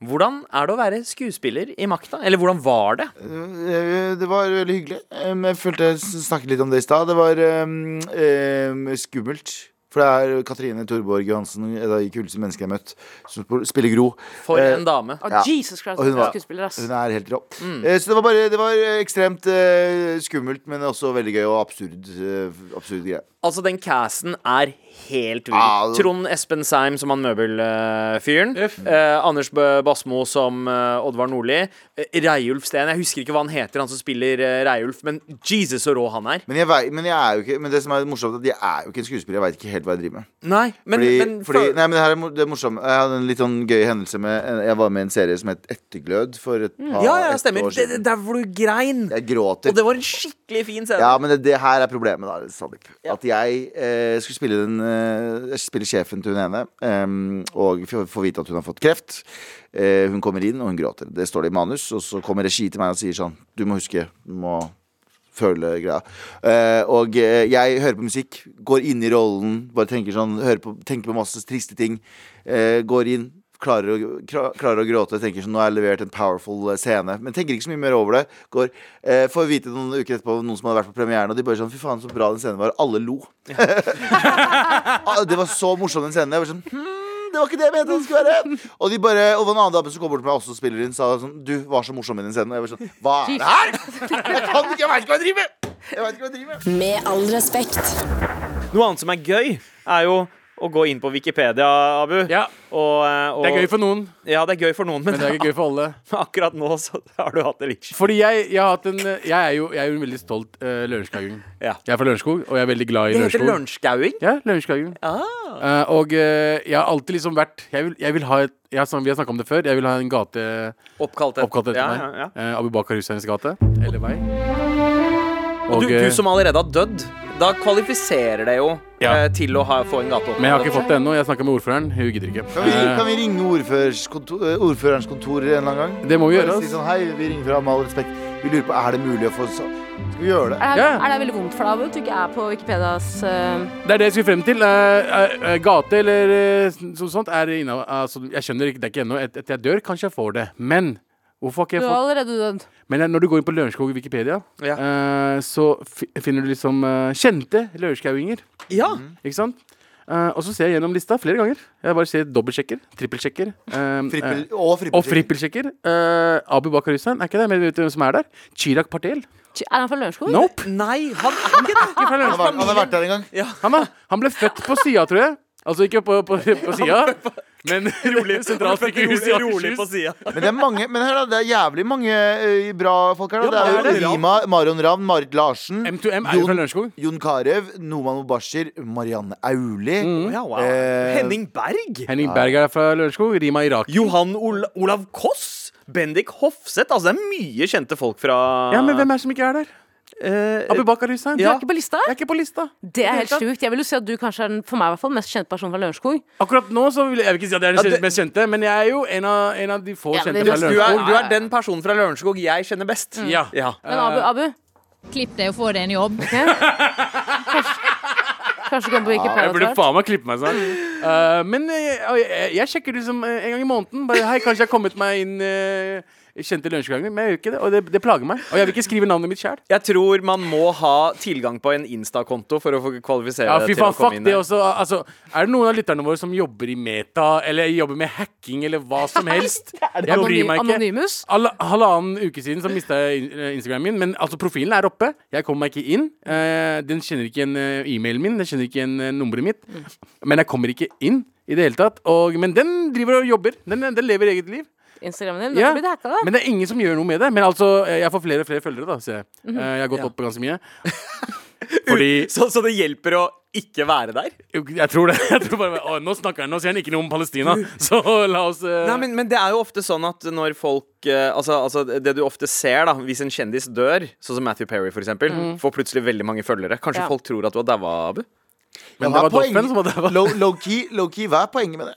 Speaker 4: Hvordan er det å være skuespiller i makta? Eller hvordan var det?
Speaker 3: Eh, Det var veldig hyggelig. Eh, men Jeg følte jeg s- snakket litt om det i stad. Det var ehm, ehm, skummelt. For det er Katrine Torborg Johansen, en av de kuleste menneskene jeg har møtt, som sp- spiller Gro.
Speaker 4: For
Speaker 3: Eh,
Speaker 4: en dame.
Speaker 6: Å,
Speaker 3: Ja.
Speaker 6: Jesus Christ,
Speaker 3: Og hun
Speaker 6: hun
Speaker 3: var-
Speaker 6: er skuespiller, ass.
Speaker 3: Hun er helt rå. Eh, Så det var bare Det var ekstremt eh, skummelt, men også veldig gøy og absurd. eh, Absurd greie.
Speaker 4: Altså, den casten er helt vill.
Speaker 3: Ja, Ah, det-
Speaker 4: Trond Espen Seim som han møbelfyren.
Speaker 5: F.
Speaker 4: Eh, Anders Bø- Basmo som eh, Oddvar Nordli. Eh, Reiulf Steen. Jeg husker ikke hva han heter, han som spiller eh, Reiulf, men Jesus så rå han er.
Speaker 3: Men, jeg vei, men, jeg er jo ikke, men det som er morsomt, er at jeg er jo ikke en skuespiller. Jeg veit ikke helt hva jeg driver med.
Speaker 4: Nei, men,
Speaker 3: fordi, fordi,
Speaker 4: men for-
Speaker 3: nei, men det her er mor- det er morsomt. Jeg hadde en litt sånn gøy hendelse med Jeg var med i en serie som het Etterglød for et par
Speaker 4: Mm. Ja, ja,
Speaker 3: et
Speaker 4: stemmer.
Speaker 3: år
Speaker 4: Det, det,
Speaker 3: siden.
Speaker 4: der hvor du grein.
Speaker 3: Jeg gråter.
Speaker 4: Og det var en skikkelig fin scene.
Speaker 3: Ja, men det, det her er problemet, da. Sandeep. At jeg eh, skulle spille, den, eh, jeg skulle spille sjefen til hun ene, em, og f- får vite at hun har fått kreft. Eh, hun kommer inn, og hun gråter. Det står det i manus. Og så kommer regi til meg og sier sånn Du må huske, du må føle greia. Eh, og eh, jeg hører på musikk, går inn i rollen, bare tenker sånn hører på, Tenker på masse triste ting. Eh, går inn. Klarer å, kra- klarer å gråte. Tenker sånn, Nå har jeg levert en powerful eh, scene. Men tenker ikke så mye mer over det. Går, eh, får vite noen uker etterpå noen som hadde vært på premieren, og de bare sånn Fy faen, så bra den scenen var. Alle lo. Ah, det var så morsom den scenen. Jeg var sånn «Hmm, det var ikke det jeg mente det skulle være. Og de bare, og en annen dame som kom bort til meg også og spiller inn, sa sånn Du var så morsom i den scenen. Og jeg var sånn Hva er det her?! Jeg kan ikke, jeg veit ikke hva jeg driver med! Jeg vet ikke hva jeg driver med.
Speaker 1: Med all respekt.
Speaker 4: Noe annet som er gøy, er jo å gå inn på Wikipedia, Abu.
Speaker 5: Ja.
Speaker 4: Og, eh, og,
Speaker 5: Det er gøy for noen,
Speaker 4: Ja, det er gøy for noen, men,
Speaker 5: men det er ikke gøy for alle.
Speaker 4: akkurat nå så har du hatt det litt kjipt.
Speaker 5: Fordi jeg, jeg har hatt en eh, Jeg er jo, jeg er jo en veldig stolt uh, lørenskagung.
Speaker 4: Ja.
Speaker 5: Jeg er fra Lørenskog, og jeg er veldig glad i
Speaker 4: Det heter Ah.
Speaker 5: Lørenskog.
Speaker 4: lunsjgauing.
Speaker 5: Ja, Lørenskagung. Eh, og eh, jeg har alltid liksom vært Jeg vil, jeg vil ha et jeg har, snak- Vi har snakka om det før. Jeg vil ha en gate
Speaker 4: Oppkalt
Speaker 5: oppkalt etter
Speaker 4: ja,
Speaker 5: meg.
Speaker 4: Ja, ja.
Speaker 5: Eh, Abu Bakar Husseins gate. Eller vei.
Speaker 4: Og du,
Speaker 5: eh,
Speaker 4: du som allerede har dødd, da kvalifiserer det jo
Speaker 5: Ja.
Speaker 4: eh, til å ha, få en gate opp.
Speaker 5: Men jeg har ikke fått det ennå. Jeg snakka med ordføreren. Hun gidder ikke.
Speaker 3: Kan vi,
Speaker 5: Eh,
Speaker 3: kan vi ringe ordførerens kontor, eh, ordførerens kontor en eller annen gang?
Speaker 5: det må vi gjøre.
Speaker 3: Bare si
Speaker 5: ass.
Speaker 3: sånn, hei, vi ringer fra Med all respekt. Vi lurer på, er det mulig å få så- Skal vi gjøre det?
Speaker 6: Er det,
Speaker 5: Ja.
Speaker 6: er det veldig vondt for deg Abu, at du ikke er på Wikipedias eh,
Speaker 5: Det er det jeg skulle frem til. Eh, eh, eh, gate eller uh, noe sånt er inna, altså, Jeg skjønner ikke, det er ikke ennå. Et- Etter jeg dør, kanskje jeg får det. Men hvorfor har ikke
Speaker 6: Du
Speaker 5: jeg
Speaker 6: er
Speaker 5: fått
Speaker 6: allerede dødd.
Speaker 5: Men eh, når du går inn på Lørenskog Wikipedia,
Speaker 4: Ja.
Speaker 5: eh, så fi- finner du liksom eh, kjente lørenskauinger.
Speaker 4: Ja.
Speaker 5: Ikke sant? Eh, og så ser jeg gjennom lista flere ganger. Jeg bare ser dobbeltsjekker, trippelsjekker. eh,
Speaker 3: Frippel,
Speaker 5: eh,
Speaker 3: og frippel.
Speaker 5: og frippelsjekker. Eh, Abu Bakar Hussein, er ikke det? Men vet du hvem som er der? Chirag Patel.
Speaker 6: Er han fra Lørenskog?
Speaker 5: Nope!
Speaker 4: Nei, han er ikke det.
Speaker 5: Ikke fra
Speaker 3: Han har, vært-
Speaker 5: Lørenskog.
Speaker 3: han har vært der en gang.
Speaker 5: Han, er- han ble født på sida, tror jeg. Altså ikke på, på, på sida, men rolig sentralsykehus i
Speaker 4: rolig på
Speaker 5: Akershus.
Speaker 4: sida.
Speaker 3: Men det er mange Men hør da, det er jævlig mange eh, bra folk her. Da.
Speaker 4: Ja,
Speaker 3: det er
Speaker 4: det er
Speaker 3: jo
Speaker 4: det.
Speaker 3: Rima, Marion Ravn, Marit Larsen,
Speaker 5: M2M er jo fra
Speaker 3: Jon-
Speaker 5: Lørenskog.
Speaker 3: Jon Carew, Noman Mubashir, Marianne Auli.
Speaker 4: Ja, wow.
Speaker 3: Eh,
Speaker 4: Henning Berg.
Speaker 5: Henning Berg er fra Lørenskog. Rima Irak.
Speaker 4: Johan Ola Olav Koss. Bendik Hofseth. Altså, det er mye kjente folk fra
Speaker 5: Ja, men hvem er det som ikke er der?
Speaker 4: Eh,
Speaker 5: Abu Bakar Hussein.
Speaker 6: Du
Speaker 4: Ja.
Speaker 6: er ikke på lista?
Speaker 5: Jeg er ikke på lista.
Speaker 6: Det er helt
Speaker 5: tatt.
Speaker 6: sjukt. Jeg vil jo si at du kanskje er den for meg i hvert fall, mest kjente personen fra Lørenskog.
Speaker 5: Akkurat nå så vil jeg, jeg vil ikke si at jeg er den
Speaker 4: Ja, det-
Speaker 5: mest kjente, men jeg er jo en av, en av de få
Speaker 6: Ja, men
Speaker 5: kjente
Speaker 6: det-
Speaker 5: fra
Speaker 4: du, er,
Speaker 5: Lørenskog.
Speaker 4: du er den personen fra Lørenskog jeg kjenner best.
Speaker 5: Ja.
Speaker 4: Mm. Ja.
Speaker 6: Men
Speaker 5: Eh.
Speaker 6: Abu, Abu
Speaker 8: Klipp deg og få deg en jobb.
Speaker 6: kanskje du kommer på Wikipedia
Speaker 5: Jeg burde
Speaker 6: snart.
Speaker 5: faen meg klippe meg sånn. Eh, men jeg, jeg, jeg sjekker liksom eh, en gang i måneden. Bare, Hei, kanskje jeg har kommet meg inn eh, i kjente lunsjganger, men jeg gjør ikke det. Og det, det plager meg. Og jeg vil ikke skrive navnet mitt sjæl.
Speaker 4: Jeg tror man må ha tilgang på en Insta-konto for å få kvalifisere
Speaker 5: Ja, fy
Speaker 4: til å
Speaker 5: faen,
Speaker 4: komme
Speaker 5: fuck
Speaker 4: inn.
Speaker 5: det
Speaker 4: der.
Speaker 5: også. Altså, er det noen av lytterne våre som jobber i meta, eller jobber med hacking, eller hva som helst? Jeg bryr meg ikke.
Speaker 6: Anonymus?
Speaker 5: Alle, halvannen uke siden så mista jeg in- eh, Instagramen min. Men altså profilen er oppe. Jeg kommer meg ikke inn. Eh, den kjenner ikke igjen eh, e-mailen min, den kjenner ikke igjen eh, nummeret mitt.
Speaker 6: Mm.
Speaker 5: Men jeg kommer ikke inn i det hele tatt. Og, men den driver og jobber. Den, den lever eget liv.
Speaker 6: Instagramen din? Du
Speaker 5: Ja,
Speaker 6: har blitt hacka, da.
Speaker 5: Men det er ingen som gjør noe med det. Men altså, eh, jeg får flere og flere følgere, da, ser jeg.
Speaker 6: Mhm.
Speaker 5: Eh, jeg har gått opp ganske mye. Fordi
Speaker 4: Så, så det hjelper å ikke være der?
Speaker 5: Jeg tror det. Jeg tror bare, å, nå snakker han, nå sier han ikke noe om Palestina, så la oss eh,
Speaker 4: Nei, men, men det er jo ofte sånn at når folk eh, altså, altså det du ofte ser da Hvis en kjendis dør, sånn som Matthew Perry for eksempel Får plutselig veldig mange følgere Kanskje
Speaker 6: Ja.
Speaker 4: folk tror at du har daua, Abu?
Speaker 5: men
Speaker 3: hva er
Speaker 5: det var Doffen
Speaker 3: poenget?
Speaker 5: som var der. hva?
Speaker 3: Low, low, key, low key, hva er poenget med det?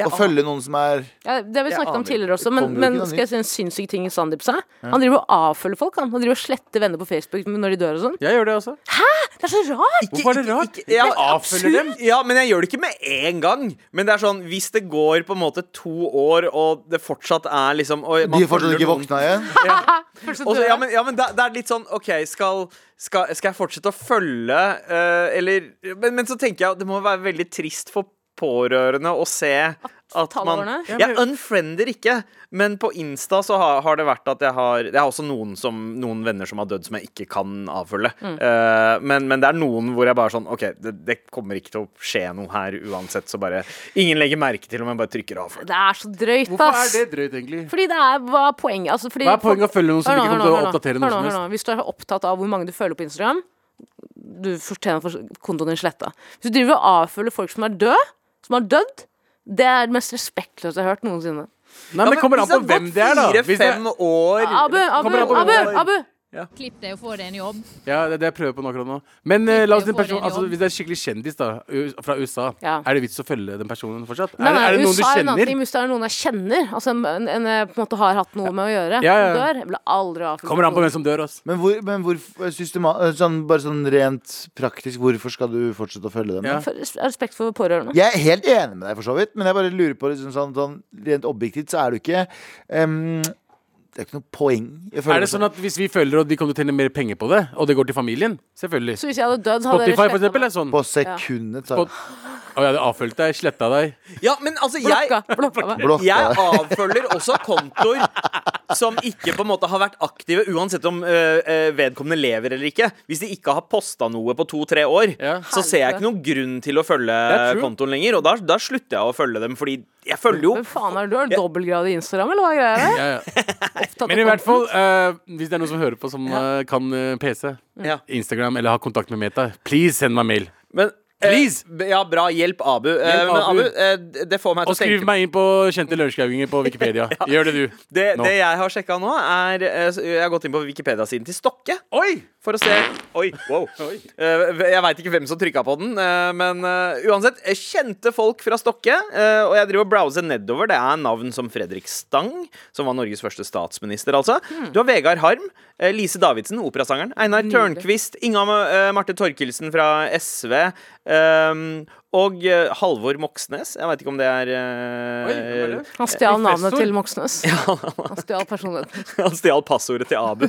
Speaker 3: Å følge noen som er
Speaker 6: Ja, det har vi snakket om
Speaker 4: aner
Speaker 6: tidligere også, men,
Speaker 3: Kommer jo ikke
Speaker 6: men
Speaker 3: noe
Speaker 6: skal jeg si en sinnssyk ting Sandeep sa? Han driver og avfølger folk. Han, han driver og sletter venner på Facebook når de dør og sånn.
Speaker 5: Jeg gjør det også.
Speaker 6: Det er så rart!
Speaker 5: Hvorfor er det rart?
Speaker 4: ja,
Speaker 5: Jeg avfølger dem.
Speaker 4: Ja, men jeg gjør det ikke med en gang Men det er sånn, hvis det går på en måte to år Og det fortsatt er liksom og man
Speaker 3: De er fortsatt
Speaker 4: følger
Speaker 3: ikke
Speaker 4: noen-
Speaker 3: våkna igjen?
Speaker 4: Og så- ja, men, ja, men det, det er litt sånn OK, skal, skal, skal jeg fortsette å følge, eh, eller men, men så tenker jeg at det må være veldig trist for pårørende å se at man
Speaker 6: tallårene?
Speaker 4: Jeg unfriender ikke, men på Insta så har, har det vært at jeg har Jeg har også noen, som, noen venner som har dødd, som jeg ikke kan avfølge. Eh, men, men det er noen hvor jeg bare sånn OK, det, det kommer ikke til å skje noe her uansett, så bare Ingen legger merke til om jeg bare trykker avfølg.
Speaker 6: Det er så drøyt,
Speaker 5: Hvorfor
Speaker 6: ass!
Speaker 5: er det drøyt, egentlig?
Speaker 6: Fordi det er hva er poenget altså, fordi
Speaker 5: Hva er poenget å følge noen som
Speaker 6: Hør nå,
Speaker 5: ikke kommer
Speaker 6: hør
Speaker 5: til
Speaker 6: nå,
Speaker 5: å
Speaker 6: hør nå.
Speaker 5: oppdatere
Speaker 6: Hør nå,
Speaker 5: noe som
Speaker 6: hør nå.
Speaker 5: helst?
Speaker 6: Hvis du er opptatt av hvor mange du følger på Instagram, du fortjener for kontoen din sletta. Hvis du driver og avfølger folk som er døde, som har dødd, det er det mest respektløse jeg har hørt noensinne.
Speaker 5: Nei, men det kommer an på hvem det er, da. Hvis det,
Speaker 4: Fire-fem år
Speaker 6: Ah, Abu, Abu,
Speaker 5: Kommer an på hvem
Speaker 6: Abu!
Speaker 5: det er.
Speaker 6: Abu.
Speaker 8: Klipp deg og få deg en jobb.
Speaker 5: ja, det er det jeg prøver på nå akkurat nå. Men eh, la oss si en
Speaker 8: Får
Speaker 5: person,
Speaker 8: en
Speaker 5: altså,
Speaker 8: jobb.
Speaker 5: hvis det er skikkelig kjendis da, u- fra USA,
Speaker 6: Ja.
Speaker 5: er det vits å følge den personen fortsatt?
Speaker 6: Nei,
Speaker 5: er,
Speaker 6: nei,
Speaker 5: det- er det noen du
Speaker 6: USA er en annen ting.
Speaker 5: kjenner?
Speaker 6: Hvis det er noen jeg kjenner, altså en, en, en jeg på en måte har hatt noe med å gjøre,
Speaker 5: Ja, ja,
Speaker 6: som
Speaker 5: ja.
Speaker 6: dør, jeg ville aldri avfølge
Speaker 5: Kommer an på hvem som dør, ass.
Speaker 3: Men, hvor, men hvor systema, sånn, Bare sånn rent praktisk, hvorfor skal du fortsette å følge dem?
Speaker 5: Ja.
Speaker 6: For, respekt for pårørende.
Speaker 3: Jeg er helt enig med deg, for så vidt, men jeg bare lurer på liksom, sånn, sånn, rent objektivt så er du ikke em, Det er ikke noe poeng. Jeg føler
Speaker 5: Er det sånn at hvis vi følger, og de kommer til å tjene mer penger på det, og det går til familien? Selvfølgelig.
Speaker 6: Så hvis jeg hadde dødd, så hadde
Speaker 5: Spotify, for
Speaker 6: slettet
Speaker 5: eksempel,
Speaker 6: meg.
Speaker 5: er sånn.
Speaker 3: på sekundet. tar-
Speaker 5: Spot- Og jeg hadde avfølt deg, sletta deg.
Speaker 4: Ja, men altså, jeg
Speaker 6: Blokka. blokka meg.
Speaker 3: Blokk,
Speaker 4: jeg
Speaker 3: ja.
Speaker 4: avfølger også kontoer som ikke på en måte har vært aktive, uansett om øh, øh, vedkommende lever eller ikke. Hvis de ikke har posta noe på to-tre år,
Speaker 5: Ja.
Speaker 4: så ser jeg ikke noen grunn til å følge
Speaker 5: er true.
Speaker 4: kontoen lenger. Og da, da slutter jeg å følge dem, fordi jeg følger jo
Speaker 6: Men faen, er det du har dobbeltgrad i Instagram, eller hva er greia der?
Speaker 5: Ja, ja.
Speaker 6: Opptatt av
Speaker 5: Men i hvert
Speaker 6: content.
Speaker 5: fall, eh, hvis det er noen som hører på som eh, kan eh, PC,
Speaker 4: Ja.
Speaker 5: Instagram eller har kontakt med Meta, please send meg mail.
Speaker 4: Men
Speaker 5: Please!
Speaker 4: Eh, ja, bra. Hjelp Abu. Eh,
Speaker 5: Hjelp
Speaker 4: men
Speaker 5: Abu.
Speaker 4: Abu, eh, d- det får meg til
Speaker 5: Og
Speaker 4: å tenke
Speaker 5: skriv meg inn på kjente lørenskauginger på Wikipedia. Gjør det, du.
Speaker 4: Det,
Speaker 5: nå.
Speaker 4: det jeg har sjekka nå, er eh, s- Jeg har gått inn på Wikipedia-siden til Stokke.
Speaker 5: Oi!
Speaker 4: For å se Oi, wow. Eh, jeg veit ikke hvem som trykka på den, eh, men eh, uansett. eh, Kjente folk fra Stokke. eh, og jeg driver og browser nedover. Det er navn som Fredrik Stang, som var Norges første statsminister, altså. Du har Vegard Harm. eh, Lise Davidsen, operasangeren. Einar Tørnquist. Inga eh, Marte Torkelsen fra SV. eh, og eh, Halvor Moxnes. Jeg veit ikke om det er
Speaker 5: Oi, hvem er
Speaker 4: eh,
Speaker 5: det?
Speaker 6: Han stjal navnet
Speaker 5: Professor.
Speaker 6: til Moxnes. Han stjal personligheten.
Speaker 4: Han stjal passordet til Abu.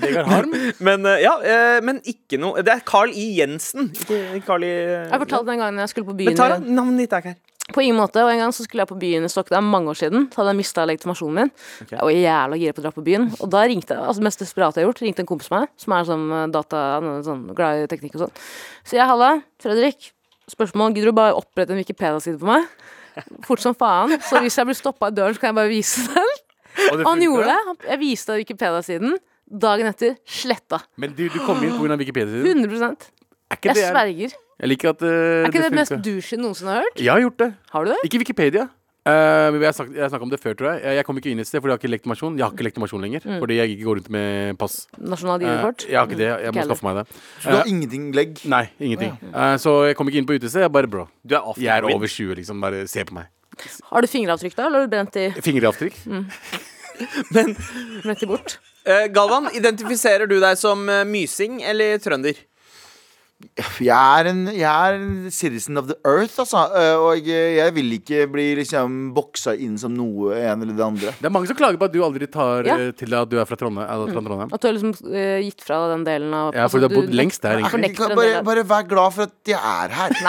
Speaker 5: Vegard Harm.
Speaker 4: Men eh, ja, eh, men ikke noe Det er Carl I. Jensen. Ikke Carl I
Speaker 6: Jeg fortalte den gangen jeg skulle på
Speaker 4: Men
Speaker 6: byen
Speaker 4: Tara, navnet ditt er ikke her.
Speaker 6: På ingen måte, og En gang så skulle jeg på byen i Stockholm, mange år siden. Så hadde jeg mista legitimasjonen min. Jeg var jævla gira på å dra på byen. Og da ringte jeg, altså mest desperat jeg har gjort, ringte en kompis av meg, som er sånn eh, data, han er sånn glad i teknikk og sånn. Sier jeg halla, Fredrik. Spørsmål, gidder du bare opprette en Wikipedia-side på meg? Fort som faen. Så hvis jeg blir stoppa i døren, så kan jeg bare vise den.
Speaker 5: Og det
Speaker 6: Og han
Speaker 5: funka.
Speaker 6: gjorde det. Han- Jeg viste Wikipedia-siden. Dagen etter sletta.
Speaker 5: Men du, du kom inn pga. Wikipedia-siden.
Speaker 6: 100
Speaker 5: Er ikke
Speaker 6: Jeg
Speaker 5: det, er,
Speaker 6: sverger.
Speaker 5: jeg liker at eh,
Speaker 6: Er ikke det
Speaker 5: det
Speaker 6: mest
Speaker 5: funka.
Speaker 6: douche noensinne har hørt?
Speaker 5: Jeg har gjort det.
Speaker 6: Har du det?
Speaker 5: Ikke Wikipedia. Eh, men jeg har snakket- jeg har snakket om det før, tror jeg. Jeg- Jeg kom ikke inn et sted fordi jeg har ikke legitimasjon. Jeg har ikke legitimasjon lenger.
Speaker 6: Mm.
Speaker 5: Fordi jeg ikke går rundt med pass.
Speaker 6: Nasjonalt
Speaker 5: Eh,
Speaker 6: ID-kort?
Speaker 5: jeg har ikke det. Jeg
Speaker 6: Ikke
Speaker 5: må
Speaker 6: heller.
Speaker 5: skaffe meg det.
Speaker 3: Så du har ingenting legg?
Speaker 5: Nei, ingenting. Eh, så jeg kom ikke inn på utestedet. Jeg bare bro.
Speaker 4: Du er off
Speaker 5: Jeg er over 20, liksom. Bare se på meg.
Speaker 6: Har du fingeravtrykk da, eller har du brent de,
Speaker 5: Fingeravtrykk.
Speaker 6: Mm. brent de bort?
Speaker 4: Eh, Galvan, identifiserer du deg som eh, mysing eller trønder?
Speaker 3: Jeg er en, jeg er en citizen of the earth, altså. Eh, Og jeg, jeg vil ikke bli liksom boksa inn som noe en eller det andre.
Speaker 5: Det er mange som klager på at du aldri tar
Speaker 6: Ja.
Speaker 5: eh, til deg at du er fra Trondheim. eller fra Trondheim.
Speaker 6: At du har liksom eh, gitt fra deg den delen av altså,
Speaker 5: Ja, for du har bodd lengst der, egentlig.
Speaker 3: Jeg
Speaker 6: Fornekter
Speaker 3: kan
Speaker 6: en del
Speaker 3: Bare,
Speaker 6: av
Speaker 3: bare vær glad for at jeg er her.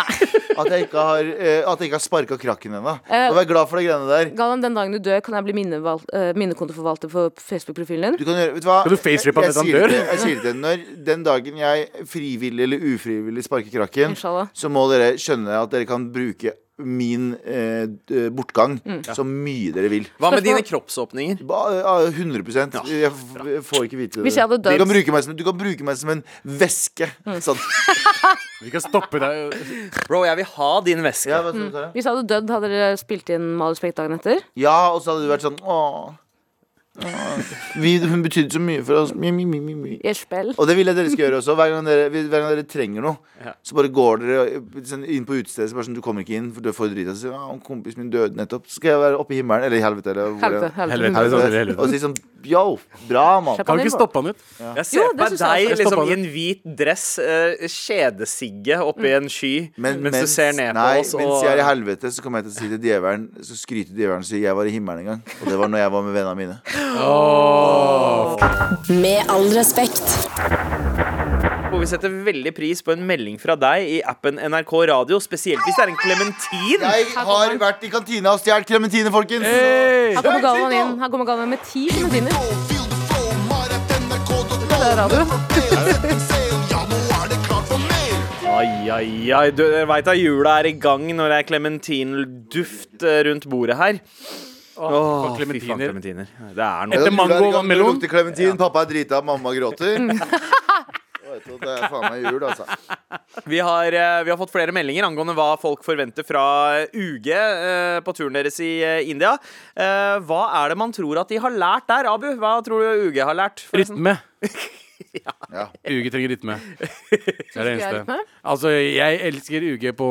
Speaker 3: At jeg ikke har, eh, at jeg ikke har sparka krakken ennå.
Speaker 6: Eh,
Speaker 3: Og vær glad for de greiene der.
Speaker 6: Galvan, den dagen du dør, kan jeg bli minnevalgt- eh, minnekontoforvalter for Facebook-profilen
Speaker 3: Du
Speaker 6: din?
Speaker 3: kan gjøre, vet du hva?
Speaker 5: Skal du facerip
Speaker 3: Jeg-
Speaker 5: at han
Speaker 3: jeg sier
Speaker 5: dør?
Speaker 3: det- Jeg sier det Når den dagen jeg frivillig eller ufrivillig sparker krakken,
Speaker 6: Inshallah.
Speaker 3: så må dere skjønne at dere kan bruke min eh, d- bortgang
Speaker 6: Mm.
Speaker 3: så mye dere vil.
Speaker 4: Hva med dine kroppsåpninger?
Speaker 3: Ba, eh, 100 Jeg f- får ikke vite det.
Speaker 6: Hvis jeg hadde
Speaker 3: du,
Speaker 6: dødd- Mm.
Speaker 3: kan bruke meg som, du kan bruke meg som en væske. Sånn.
Speaker 5: Vi kan stoppe deg.
Speaker 4: Bro, jeg vil ha din veske.
Speaker 3: Ja, hva skal du ta?
Speaker 6: Hvis jeg hadde dødd, hadde dere spilt inn Mal respekt dagen etter?
Speaker 3: ja, og så hadde du vært sånn Åh. Åh. Vi, hun betydde så mye for oss. Mi, mi, mi, mi, mi.
Speaker 6: I et spill?
Speaker 3: Og det vil jeg dere skal gjøre også. Hver gang dere, hver gang dere trenger noe, så bare går dere sånn inn på utestedet. Så bare sånn, du kommer ikke inn, for du er for drita. Så sier ah, kompisen min døde nettopp. Så skal jeg være oppe i himmelen, eller i helvete, eller hvor
Speaker 6: Helvete. helvete.
Speaker 5: Helvete.
Speaker 3: Helvete. Og si sånn Yo, bra, mann.
Speaker 6: Slapp
Speaker 5: Kan
Speaker 6: av,
Speaker 5: du ikke
Speaker 6: Nivå.
Speaker 5: stoppe han ut?
Speaker 4: Jeg ser
Speaker 6: Jo,
Speaker 4: på
Speaker 6: det
Speaker 4: deg
Speaker 6: synes jeg
Speaker 5: også.
Speaker 4: liksom
Speaker 5: Stoppa
Speaker 4: i
Speaker 5: det.
Speaker 4: en hvit dress, eh, kjedesigge oppi en sky,
Speaker 3: Men
Speaker 4: mens, du ser ned
Speaker 3: nei,
Speaker 4: på oss.
Speaker 3: Mens
Speaker 4: Og,
Speaker 3: jeg er i helvete, så kommer jeg til å si til djevelen Så skryter djevelen og sier 'jeg var i himmelen en gang'. Og det var når jeg var med vennene mine.
Speaker 1: Med all respekt.
Speaker 4: og vi setter veldig pris på en melding fra deg i appen NRK Radio, spesielt hvis det er en klementin.
Speaker 3: Jeg har vært i kantina og stjålet klementiner, folkens.
Speaker 6: Her kommer Galvan inn. Her kommer Galvan med ti klementiner.
Speaker 4: Ai, ai, ai. Du jeg vet at jula er i gang når det er klementinduft eh, rundt bordet her. Åh,
Speaker 5: og
Speaker 4: fy faen,
Speaker 5: klementiner.
Speaker 4: klementiner. Det er
Speaker 3: Ja,
Speaker 4: noe.
Speaker 5: Etter mango
Speaker 3: jula er i
Speaker 5: og
Speaker 3: gang, det
Speaker 5: melon.
Speaker 3: lukter klementin, pappa er drita, mamma gråter. Vet du at Det er faen meg jul, altså.
Speaker 4: Vi har, eh, vi har fått flere meldinger angående hva folk forventer fra eh, UG eh, på turen deres i eh, India. Eh, Hva er det man tror at de har lært der, Abu? Hva tror du UG har lært? forresten?
Speaker 5: Rytme.
Speaker 3: Ja.
Speaker 5: UG trenger rytme. Det er det
Speaker 6: du jeg er rytme?
Speaker 5: eneste. Altså, jeg elsker UG på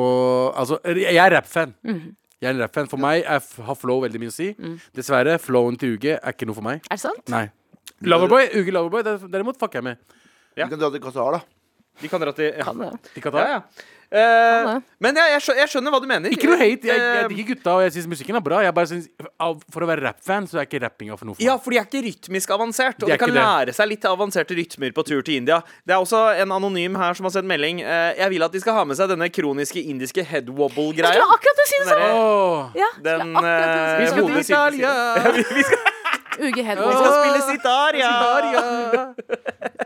Speaker 5: Altså, jeg er rappfan.
Speaker 6: Mhm.
Speaker 5: Jeg er en rappfan. For meg er, har flow veldig mye å si. Dessverre, flowen til UG er ikke noe for meg.
Speaker 6: Er det sant?
Speaker 5: Nei. Loverboy, UG Loverboy, der- derimot fucker jeg med.
Speaker 3: Du kan dra til Qatar, da.
Speaker 4: De kan dra til ja.
Speaker 6: Kan det.
Speaker 5: De kan ta
Speaker 4: Ja,
Speaker 5: det.
Speaker 4: ja. Eh,
Speaker 6: Kan det.
Speaker 4: men ja, jeg, skjø- jeg skjønner hva du mener.
Speaker 5: Ikke noe hate. Jeg,
Speaker 4: Eh,
Speaker 5: jeg liker gutta, og jeg syns musikken er bra. Jeg bare synes, av, for å være rappfan, så er ikke rappinga for noe for
Speaker 4: Ja,
Speaker 5: meg.
Speaker 4: for de er ikke rytmisk avansert. Og
Speaker 5: De
Speaker 4: de
Speaker 5: er
Speaker 4: kan
Speaker 5: ikke det.
Speaker 4: lære seg litt avanserte rytmer på tur til India. Det er også en anonym her som har sendt melding. eh, Jeg vil at de skal ha med seg denne kroniske indiske
Speaker 6: Jeg
Speaker 4: headwobble-greia.
Speaker 6: skulle akkurat til å si det
Speaker 4: eh.
Speaker 6: samme!
Speaker 5: Åh.
Speaker 6: Ja, skulle
Speaker 4: Den
Speaker 6: akkurat til å si
Speaker 4: eh,
Speaker 6: det samme.
Speaker 5: skal
Speaker 4: hodet
Speaker 5: til
Speaker 4: side til side.
Speaker 6: Uge
Speaker 4: Vi
Speaker 6: Hedvig.
Speaker 4: skal spille sitar, ja!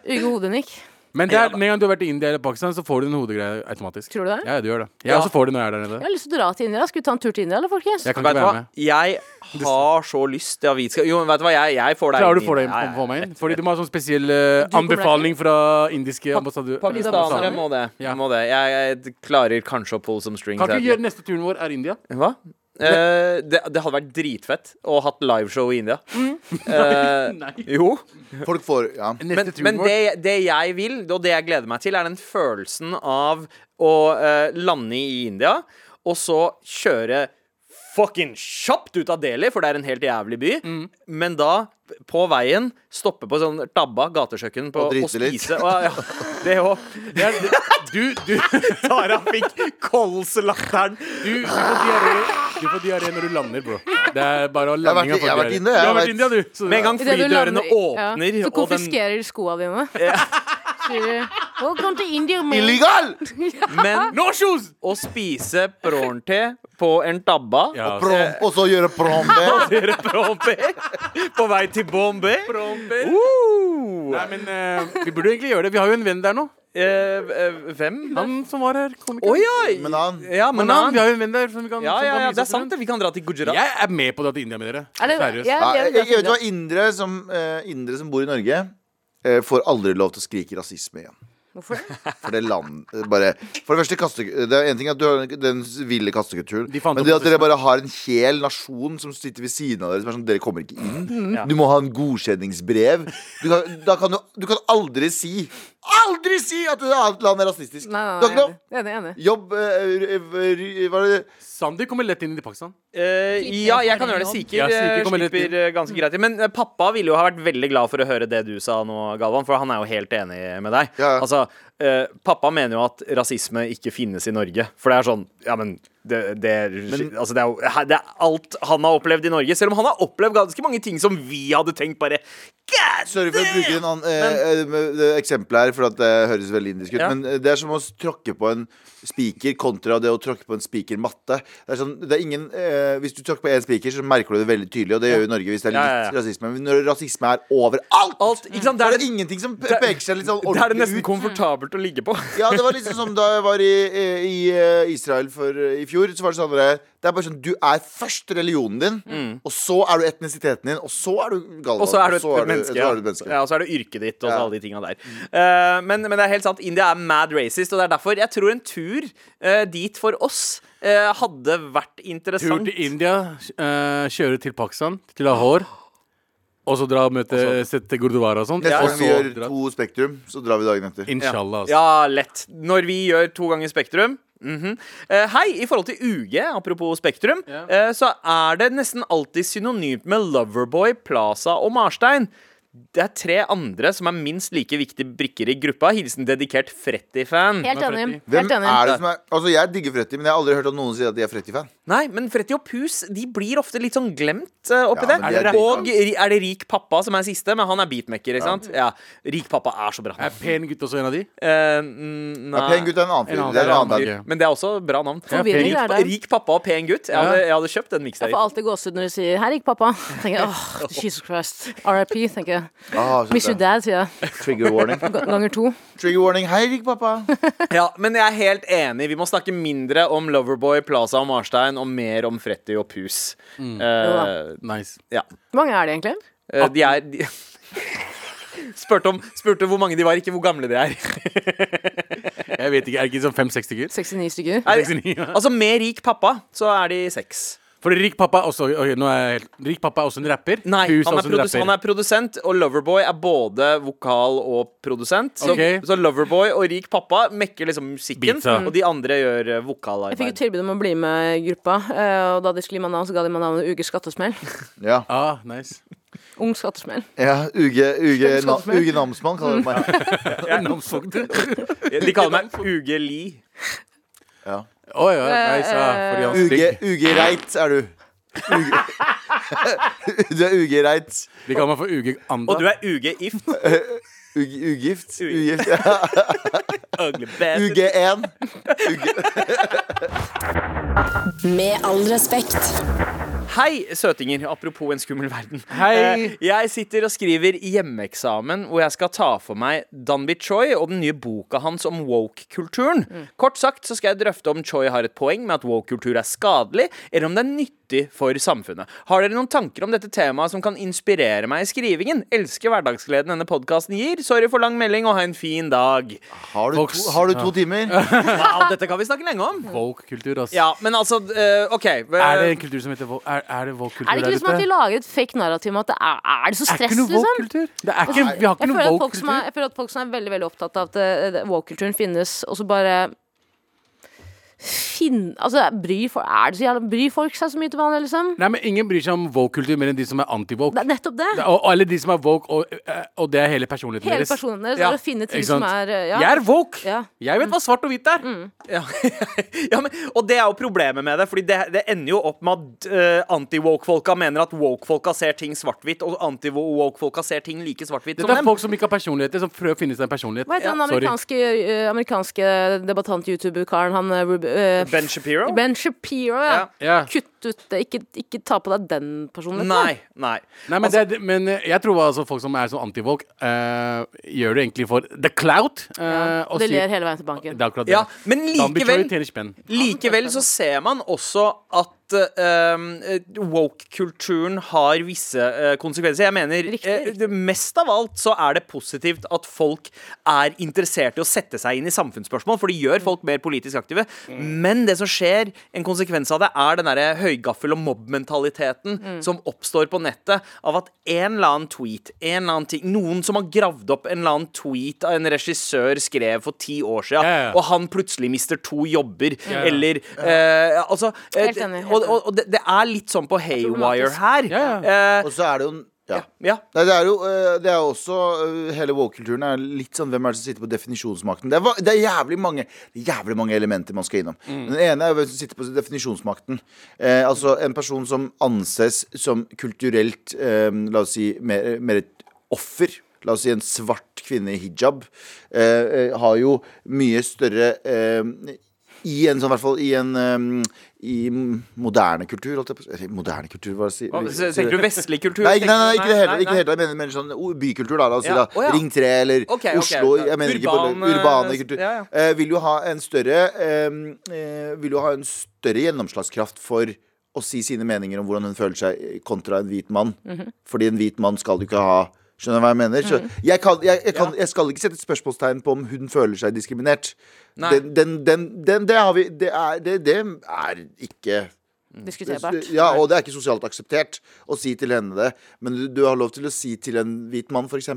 Speaker 6: Uge Hodenik.
Speaker 5: Men det
Speaker 4: Ja
Speaker 5: er,
Speaker 4: da.
Speaker 5: med en gang du har vært i India eller Pakistan, så får du den hodegreia automatisk.
Speaker 6: Tror du det?
Speaker 5: Ja, ja, du gjør det. Jeg
Speaker 4: Ja.
Speaker 5: også får det når jeg er der nede.
Speaker 6: Jeg har lyst til å dra til India. Skal vi ta en tur til India, eller, folkens?
Speaker 5: Jeg kan
Speaker 4: Vet
Speaker 5: ikke
Speaker 4: du
Speaker 5: være
Speaker 4: hva?
Speaker 5: med.
Speaker 4: Jeg har så lyst til avitska. Jo, men vet du hva, jeg, jeg får deg
Speaker 5: Klarer du å få det
Speaker 4: Ja, ja, ja.
Speaker 5: på meg inn? Fordi du må ha sånn spesiell
Speaker 6: deg
Speaker 5: eh, anbefaling fra indiske ambassadører.
Speaker 4: Pakistanere må det.
Speaker 5: Ja.
Speaker 4: Må det. Jeg, jeg klarer kanskje å pull some strings.
Speaker 5: Kan
Speaker 4: her.
Speaker 5: ikke gjøre neste turen vår er India?
Speaker 4: Hva? Eh, det, det hadde vært dritfett å hatt liveshow i India.
Speaker 6: Mm.
Speaker 4: Eh, jo.
Speaker 3: Folk får Ja.
Speaker 4: Men,
Speaker 5: Neste turen
Speaker 4: men
Speaker 5: vår
Speaker 4: det, det jeg vil, og det jeg gleder meg til, er den følelsen av å eh, lande i India, og så kjøre fucking kjapt ut av Delhi, for det er en helt jævlig by,
Speaker 5: Mm.
Speaker 4: men da, på veien, stoppe på sånn tabba gatekjøkken på,
Speaker 3: Og
Speaker 4: og,
Speaker 3: drite litt.
Speaker 4: spise. Og, ja, det òg.
Speaker 5: Det er- det- Du, du,
Speaker 4: Tara fikk kolslatteren.
Speaker 5: du, du får diaré Du får diarré når du lander, bro. Det er bare å
Speaker 3: Jeg har vært
Speaker 5: landinga
Speaker 3: i- jeg har vært inne, jeg
Speaker 5: Du
Speaker 3: vet.
Speaker 5: har vært i India, du. Så-
Speaker 4: Med en gang
Speaker 6: I det du
Speaker 4: flydørene
Speaker 6: lander-
Speaker 4: åpner,
Speaker 6: ja, Så
Speaker 4: og den
Speaker 6: konfiskerer de skoa dine. Sier de, Welcome to India, man.
Speaker 3: Illegal!
Speaker 4: Men
Speaker 5: No shoes!
Speaker 4: å spise prorn-te på en tabba
Speaker 5: Ja, altså.
Speaker 3: Prom, og så gjøre prombe.
Speaker 4: Dere promper på vei til Bombay. Uh,
Speaker 5: Nei, men eh, vi burde egentlig gjøre det. Vi har jo en venn der nå.
Speaker 4: eh, eh, hvem? Å
Speaker 5: Han som var her. Kom
Speaker 4: ja!
Speaker 3: Men han
Speaker 4: ja, men
Speaker 5: Manan,
Speaker 4: han,
Speaker 5: vi har jo en venn der som vi kan
Speaker 4: ja,
Speaker 5: som
Speaker 4: ja,
Speaker 5: kan
Speaker 4: ja,
Speaker 5: vise
Speaker 4: det er
Speaker 5: oss
Speaker 4: sant,
Speaker 5: rundt.
Speaker 4: det. Vi kan dra til Gujarat.
Speaker 5: Jeg er med på det til India med dere.
Speaker 6: Er det-
Speaker 5: Seriøst.
Speaker 6: Ja, det
Speaker 3: Nei,
Speaker 6: er
Speaker 3: jeg, jeg vet
Speaker 6: bra.
Speaker 3: hva, indre som, eh, indre som bor i Norge, eh, får aldri lov til å skrike rasisme igjen.
Speaker 6: Hvorfor det?
Speaker 3: For det land eh, bare For det første, kaste, det er en ting at du har den ville kastekulturen.
Speaker 5: De fant
Speaker 3: men
Speaker 5: opp
Speaker 3: det at dere
Speaker 5: rasisme.
Speaker 3: bare har en hel nasjon som sitter ved siden av dere, som er sånn Dere kommer ikke
Speaker 5: Mm.
Speaker 3: inn. Du må ha en godkjenningsbrev. Du kan, da kan du, du kan aldri si Aldri si at et annet land er rasistisk!
Speaker 6: Nei, nei,
Speaker 3: du har ikke
Speaker 6: nei,
Speaker 3: lov.
Speaker 6: jeg er enig. jeg er enig.
Speaker 3: Jobb eh, r- r- Hva er det?
Speaker 5: Sander kommer lett inn i Pakistan.
Speaker 4: Eh, ja, jeg kan gjøre det. Sikher
Speaker 5: Ja, Sikher
Speaker 4: eh,
Speaker 5: kommer litt
Speaker 4: slipper eh, ganske greit. Men eh, pappa ville jo ha vært veldig glad for å høre det du sa nå, Galvan, for han er jo helt enig med deg.
Speaker 3: Ja.
Speaker 4: Altså, eh, pappa mener jo at rasisme ikke finnes i Norge. For det er sånn Ja, men det, det, er- altså, det er jo he- det er alt han har opplevd i Norge. Selv om han har opplevd ganske mange ting som vi hadde tenkt bare God
Speaker 3: Sorry for å bruke en annen eh, eh, eksempel her, for at det høres veldig indisk ut.
Speaker 4: Ja.
Speaker 3: Men eh, det er som å tråkke på en spiker kontra det å tråkke på en spikermatte. Det er sånn, det er ingen, eh, hvis du tråkker på én spiker, så merker du det veldig tydelig, og det gjør jo Norge hvis det er litt
Speaker 4: Ja, ja, ja.
Speaker 3: rasisme. Men når rasisme er overalt,
Speaker 4: Alt, ikke sant?
Speaker 3: så
Speaker 4: Der
Speaker 3: er
Speaker 4: er
Speaker 3: det
Speaker 4: det,
Speaker 3: ingenting som pe-
Speaker 4: der-
Speaker 3: peker seg litt sånn
Speaker 4: der er det
Speaker 3: ordentlig
Speaker 4: nesten
Speaker 3: ut.
Speaker 4: komfortabelt å ligge på.
Speaker 3: Ja, det var liksom som da jeg var i, eh, i eh, Israel for, eh, i fjor. Så var det sånn der, Det er bare sånn Du er først religionen din, og så er du etnisiteten din, og så er du Galvan.
Speaker 4: Mm. Og så er du et
Speaker 3: så
Speaker 4: menneske.
Speaker 3: er du et menneske.
Speaker 4: Ja, og så er det yrket ditt og så
Speaker 3: Ja.
Speaker 4: alle de tinga der. Eh, men, men det er helt sant. India er mad racist, og det er derfor jeg tror en tur eh, dit for oss eh, hadde vært
Speaker 5: Tur
Speaker 4: interessant.
Speaker 5: til India, eh, kjøre til Pakistan, til Lahore. Og så dra og møte
Speaker 4: Altså-
Speaker 5: Sette Gurdwara og sånt.
Speaker 3: Neste
Speaker 5: Og
Speaker 3: gang
Speaker 4: sånn
Speaker 3: vi gjør
Speaker 5: så dra.
Speaker 3: to Spektrum, så drar vi dagen etter.
Speaker 5: Inshallah. altså.
Speaker 4: Ja, lett. Når vi gjør to ganger Spektrum. Mhm. Eh, hei, i forhold til UG, apropos Spektrum, eh, så er det nesten alltid synonymt med Loverboy, Plaza og Marstein. Det er tre andre som er minst like viktige brikker i gruppa. Hilsen dedikert Fretty-fan.
Speaker 6: Helt
Speaker 5: Hvem er
Speaker 6: enig.
Speaker 3: Hvem
Speaker 6: Helt enig.
Speaker 3: er det som er Altså, jeg digger Fretty, men jeg har aldri hørt at noen sier at de er Fretty-fan.
Speaker 4: Nei, men Freddy og Pus de blir ofte litt sånn glemt eh, oppi
Speaker 3: Ja,
Speaker 4: det.
Speaker 3: men de er rike,
Speaker 4: og ri- er det Rik pappa som er siste, men han er beatmaker, ikke sant? Ja. Rik pappa er så bra.
Speaker 5: Er pen gutt også en av de?
Speaker 4: Eh, mm,
Speaker 3: Ja,
Speaker 4: nei.
Speaker 3: pen gutt er en annen
Speaker 5: En
Speaker 3: fyr.
Speaker 5: annen
Speaker 3: Det er en
Speaker 5: fyr,
Speaker 3: annen
Speaker 5: en
Speaker 3: band.
Speaker 5: annen
Speaker 4: Men det er også bra navn.
Speaker 6: Forvirring
Speaker 4: rik,
Speaker 6: er det.
Speaker 4: rik pappa og pen gutt. Jeg hadde, jeg hadde kjøpt den
Speaker 6: Jeg får
Speaker 4: mixtapen.
Speaker 6: alltid gåsehud når du sier 'her gikk pappa'. Tenker jeg, åh, Jesus Christ. RIP, tenker jeg.
Speaker 3: Ah, så
Speaker 6: Miss you
Speaker 3: bra.
Speaker 6: dad, sier jeg.
Speaker 3: Trigger warning.
Speaker 6: Ga- Ganger to.
Speaker 3: Trigger warning. Hei, Rik pappa.
Speaker 4: Ja, men jeg er helt enig. Vi må snakke mindre om Loverboy, Plaza og Marstein, og mer om Fretty og Pus.
Speaker 6: Mm.
Speaker 4: Eh,
Speaker 5: Nice.
Speaker 4: ja.
Speaker 6: Hvor mange er de egentlig?
Speaker 4: Eh, de er de, Spurte om spurte hvor mange de var, ikke hvor gamle de er.
Speaker 5: Jeg vet ikke, Er det ikke sånn fem-seks stykker?
Speaker 6: 69 stykker?
Speaker 4: Nei,
Speaker 5: 69, ja.
Speaker 4: altså Med rik pappa så er de seks.
Speaker 5: For Rik pappa er også ok, nå er jeg helt, Rik pappa er også en rapper.
Speaker 4: Nei,
Speaker 5: Pus
Speaker 4: han er,
Speaker 5: også en
Speaker 4: produs
Speaker 5: altså, rapper.
Speaker 4: han er produsent, og Loverboy er både vokal og produsent. Så,
Speaker 5: Ok.
Speaker 4: så Loverboy og Rik pappa mekker liksom musikken,
Speaker 5: Beatsa.
Speaker 4: og de andre gjør eh,
Speaker 6: Jeg fikk jo
Speaker 4: vokalarbeid.
Speaker 6: tilbud om å bli med i gruppa, eh, og da de skulle gi meg navn, så ga de meg navnet Uges skattesmell.
Speaker 3: Ja.
Speaker 5: Ah, nice
Speaker 6: Ung skattesmell.
Speaker 3: Ja, UG, UG, na, UG Namsmann kaller de meg.
Speaker 4: De kaller meg Uge Li.
Speaker 3: Ja.
Speaker 5: Å ja, nei, så fordi han
Speaker 3: UG,
Speaker 5: stygg.
Speaker 3: UG Reit er du. UG. Du er UG Reit.
Speaker 5: De kaller meg for Uge Anda.
Speaker 4: Og du er Uge Ift.
Speaker 3: UG, ugift.
Speaker 4: Ug-
Speaker 3: Ugift. Ja.
Speaker 4: Ugly bastard.
Speaker 3: UG1.
Speaker 1: Med all respekt.
Speaker 4: Hei, søtinger. Apropos en skummel verden.
Speaker 5: Hei.
Speaker 4: Eh, Jeg sitter og skriver hjemmeeksamen hvor jeg skal ta for meg Danby Choi og den nye boka hans om woke-kulturen. Kort sagt så skal jeg drøfte om Choi har et poeng med at woke-kultur er skadelig, eller om det er nyttig for samfunnet. Har dere noen tanker om dette temaet som kan inspirere meg i skrivingen? Elsker hverdagsgleden denne podkasten gir. Sorry for lang melding, og ha en fin dag.
Speaker 3: Har du to, har du to timer?
Speaker 4: Wow, dette kan vi snakke lenge om.
Speaker 5: Woke-kultur, ass.
Speaker 4: Ja, men altså, eh, OK.
Speaker 5: Er det en kultur som heter woke? Er, er det woke-kultur
Speaker 6: Er det ikke liksom at vi lager et fake narrativ om at det er, er det så
Speaker 5: Er
Speaker 6: stress,
Speaker 5: ikke noe
Speaker 6: liksom?
Speaker 5: woke-kultur? Det er ikke, vi har
Speaker 6: Jeg
Speaker 5: ikke
Speaker 6: føler,
Speaker 5: noe
Speaker 6: at folk som er,
Speaker 5: woke-kultur.
Speaker 6: jeg føler at folk som er veldig veldig opptatt av at eh, det- woke-kulturen finnes, og så bare finn, altså, bryr, folk, er det så jævla, bryr folk seg så mye til vanlig, liksom?
Speaker 5: Nei, men Ingen bryr seg om woke-kultur mer enn de som er anti-woke.
Speaker 6: Det er nettopp det.
Speaker 5: Det er- Og, og- eller de som er woke, og, eh, og det er hele personligheten
Speaker 6: Hele
Speaker 5: deres.
Speaker 6: personen deres
Speaker 5: Ja.
Speaker 6: er å finne ting
Speaker 5: Ikke
Speaker 6: som
Speaker 5: sant?
Speaker 6: er eh, ja.
Speaker 5: Jeg er woke!
Speaker 6: Ja. Mm.
Speaker 5: Jeg vet hva svart og hvitt er.
Speaker 4: Ja, ja men, og det er jo problemet med det, Fordi det, det ender jo opp med at eh, anti-woke-folka mener at woke-folka ser ting svart-hvitt, og anti-woke-folka ser ting like svart-hvitt som
Speaker 5: Dette er
Speaker 4: dem.
Speaker 5: folk som ikke har personligheter, som prøver å finne seg en personlighet.
Speaker 6: Hva heter
Speaker 5: Ja,
Speaker 6: han amerikanske, eh, amerikanske debattant-youtuber-karen? Han eh, Rub- eh,
Speaker 4: Ben Shapiro?
Speaker 6: Ben Shapiro, ja.
Speaker 4: Ja.
Speaker 5: Ja.
Speaker 6: Kutt ut det. Ikke, ikke ta på deg den personligheten. da.
Speaker 4: Nei. nei
Speaker 5: Nei, men, det, er- men eh, jeg tror altså folk som er sånn anti-woke, eh, gjør det egentlig for the clout. eh, og
Speaker 6: De
Speaker 5: sier-
Speaker 6: ler hele veien til banken.
Speaker 5: Det er akkurat det.
Speaker 4: Ja, men
Speaker 5: Danby Choi
Speaker 4: likevel
Speaker 5: tjener spenn.
Speaker 6: Eh,
Speaker 4: Likevel så ser man også at eh, um, eh, woke-kulturen har visse eh, konsekvenser. Jeg mener,
Speaker 6: Riktig,
Speaker 4: eh,
Speaker 6: riktig.
Speaker 4: det- Mest av alt så er det positivt at folk er interessert i å sette seg inn i samfunnsspørsmål, for det gjør folk mer politisk aktive. Men det som skjer, en konsekvens av det, er den derre høygaffel- og mobbmentaliteten
Speaker 6: Mm.
Speaker 4: som oppstår på nettet av at en eller annen tweet, en eller annen ting Noen som har gravd opp en eller annen tweet av en regissør skrev for ti år siden,
Speaker 5: Ja, ja.
Speaker 4: og han plutselig mister to jobber,
Speaker 5: ja.
Speaker 4: eller eh, Altså eh,
Speaker 6: Helt enig, helt
Speaker 4: Og, og, og det, det er litt sånn på Haywire her.
Speaker 5: Ja,
Speaker 4: Eh,
Speaker 3: Og så er det jo en- ja.
Speaker 4: ja.
Speaker 3: Nei, det er jo eh, det er jo også eh, Hele woke-kulturen er litt sånn Hvem er det som sitter på definisjonsmakten? Det er, va- det er jævlig mange Det er jævlig mange elementer man skal innom.
Speaker 4: Mm.
Speaker 3: Den ene er hvem som sitter på definisjonsmakten. Eh, altså en person som anses som kulturelt eh, La oss si mer, mer et offer. La oss si en svart kvinne i hijab eh, eh, har jo mye større eh, i en sånn, i hvert fall i en eh, I moderne kultur, holdt jeg på å si. Eller, Moderne kultur, hva sier
Speaker 4: Og så Tenker du vestlig kultur?
Speaker 3: Nei, ikke- nei, nei,
Speaker 4: Tenker du-
Speaker 3: ikke det heller.
Speaker 4: nei,
Speaker 3: Ikke
Speaker 4: nei.
Speaker 3: helt, jeg mener, mener sånn o- bykultur, da. La oss si
Speaker 4: Ja,
Speaker 3: da.
Speaker 4: å ja.
Speaker 3: Ring 3 eller
Speaker 4: Ok, ok,
Speaker 3: Oslo.
Speaker 4: ja.
Speaker 3: Jeg mener ikke på
Speaker 4: Urban, eh,
Speaker 3: urbane kultur.
Speaker 4: ja, ja.
Speaker 3: Eh, vil jo ha en større eh, eh, Vil jo ha en større gjennomslagskraft for å si sine meninger om hvordan hun føler seg eh, kontra en hvit mann.
Speaker 4: Mhm.
Speaker 3: Fordi en hvit mann skal du ikke ha Skjønner du hva jeg mener? Så jeg, kan, jeg, jeg, kan, jeg skal ikke sette et spørsmålstegn på om hun føler seg diskriminert.
Speaker 4: Nei.
Speaker 3: Den, den, den, den, det har vi Det er, det, det er ikke
Speaker 6: Diskuterbart.
Speaker 3: ja, og det er ikke sosialt akseptert å si til henne det. Men du, du har lov til å si til en hvit mann, f.eks.,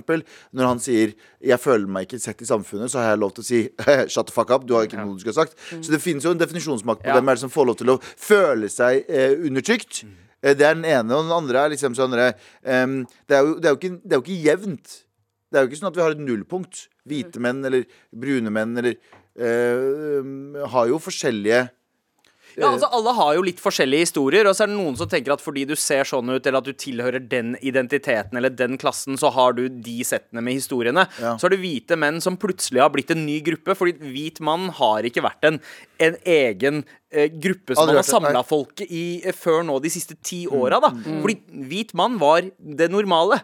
Speaker 3: når han sier 'jeg føler meg ikke sett i samfunnet', så har jeg lov til å si 'shut the fuck up', du har ikke noe du skulle ha sagt. Så det finnes jo en definisjonsmakt på
Speaker 4: Ja.
Speaker 3: hvem er det som får lov til å føle seg eh, undertrykt. Eh, Det er den ene, og den andre er liksom sånn eh, em, det, er jo- det, er jo ikke- det er jo ikke jevnt. Det er jo ikke sånn at vi har et nullpunkt. Hvite menn eller brune menn eller eh, har jo forskjellige
Speaker 4: Ja, altså Alle har jo litt forskjellige historier, og så er det noen som tenker at fordi du ser sånn ut, eller at du tilhører den identiteten eller den klassen, så har du de settene med historiene.
Speaker 3: Ja.
Speaker 4: Så er det hvite menn som plutselig har blitt en ny gruppe, fordi hvit mann har ikke vært en, en egen eh, gruppe som
Speaker 3: Aldri
Speaker 4: man har
Speaker 3: vært det, nei. Mm.
Speaker 4: samla folk i eh, før nå de siste ti åra, da. Fordi hvit mann var det normale.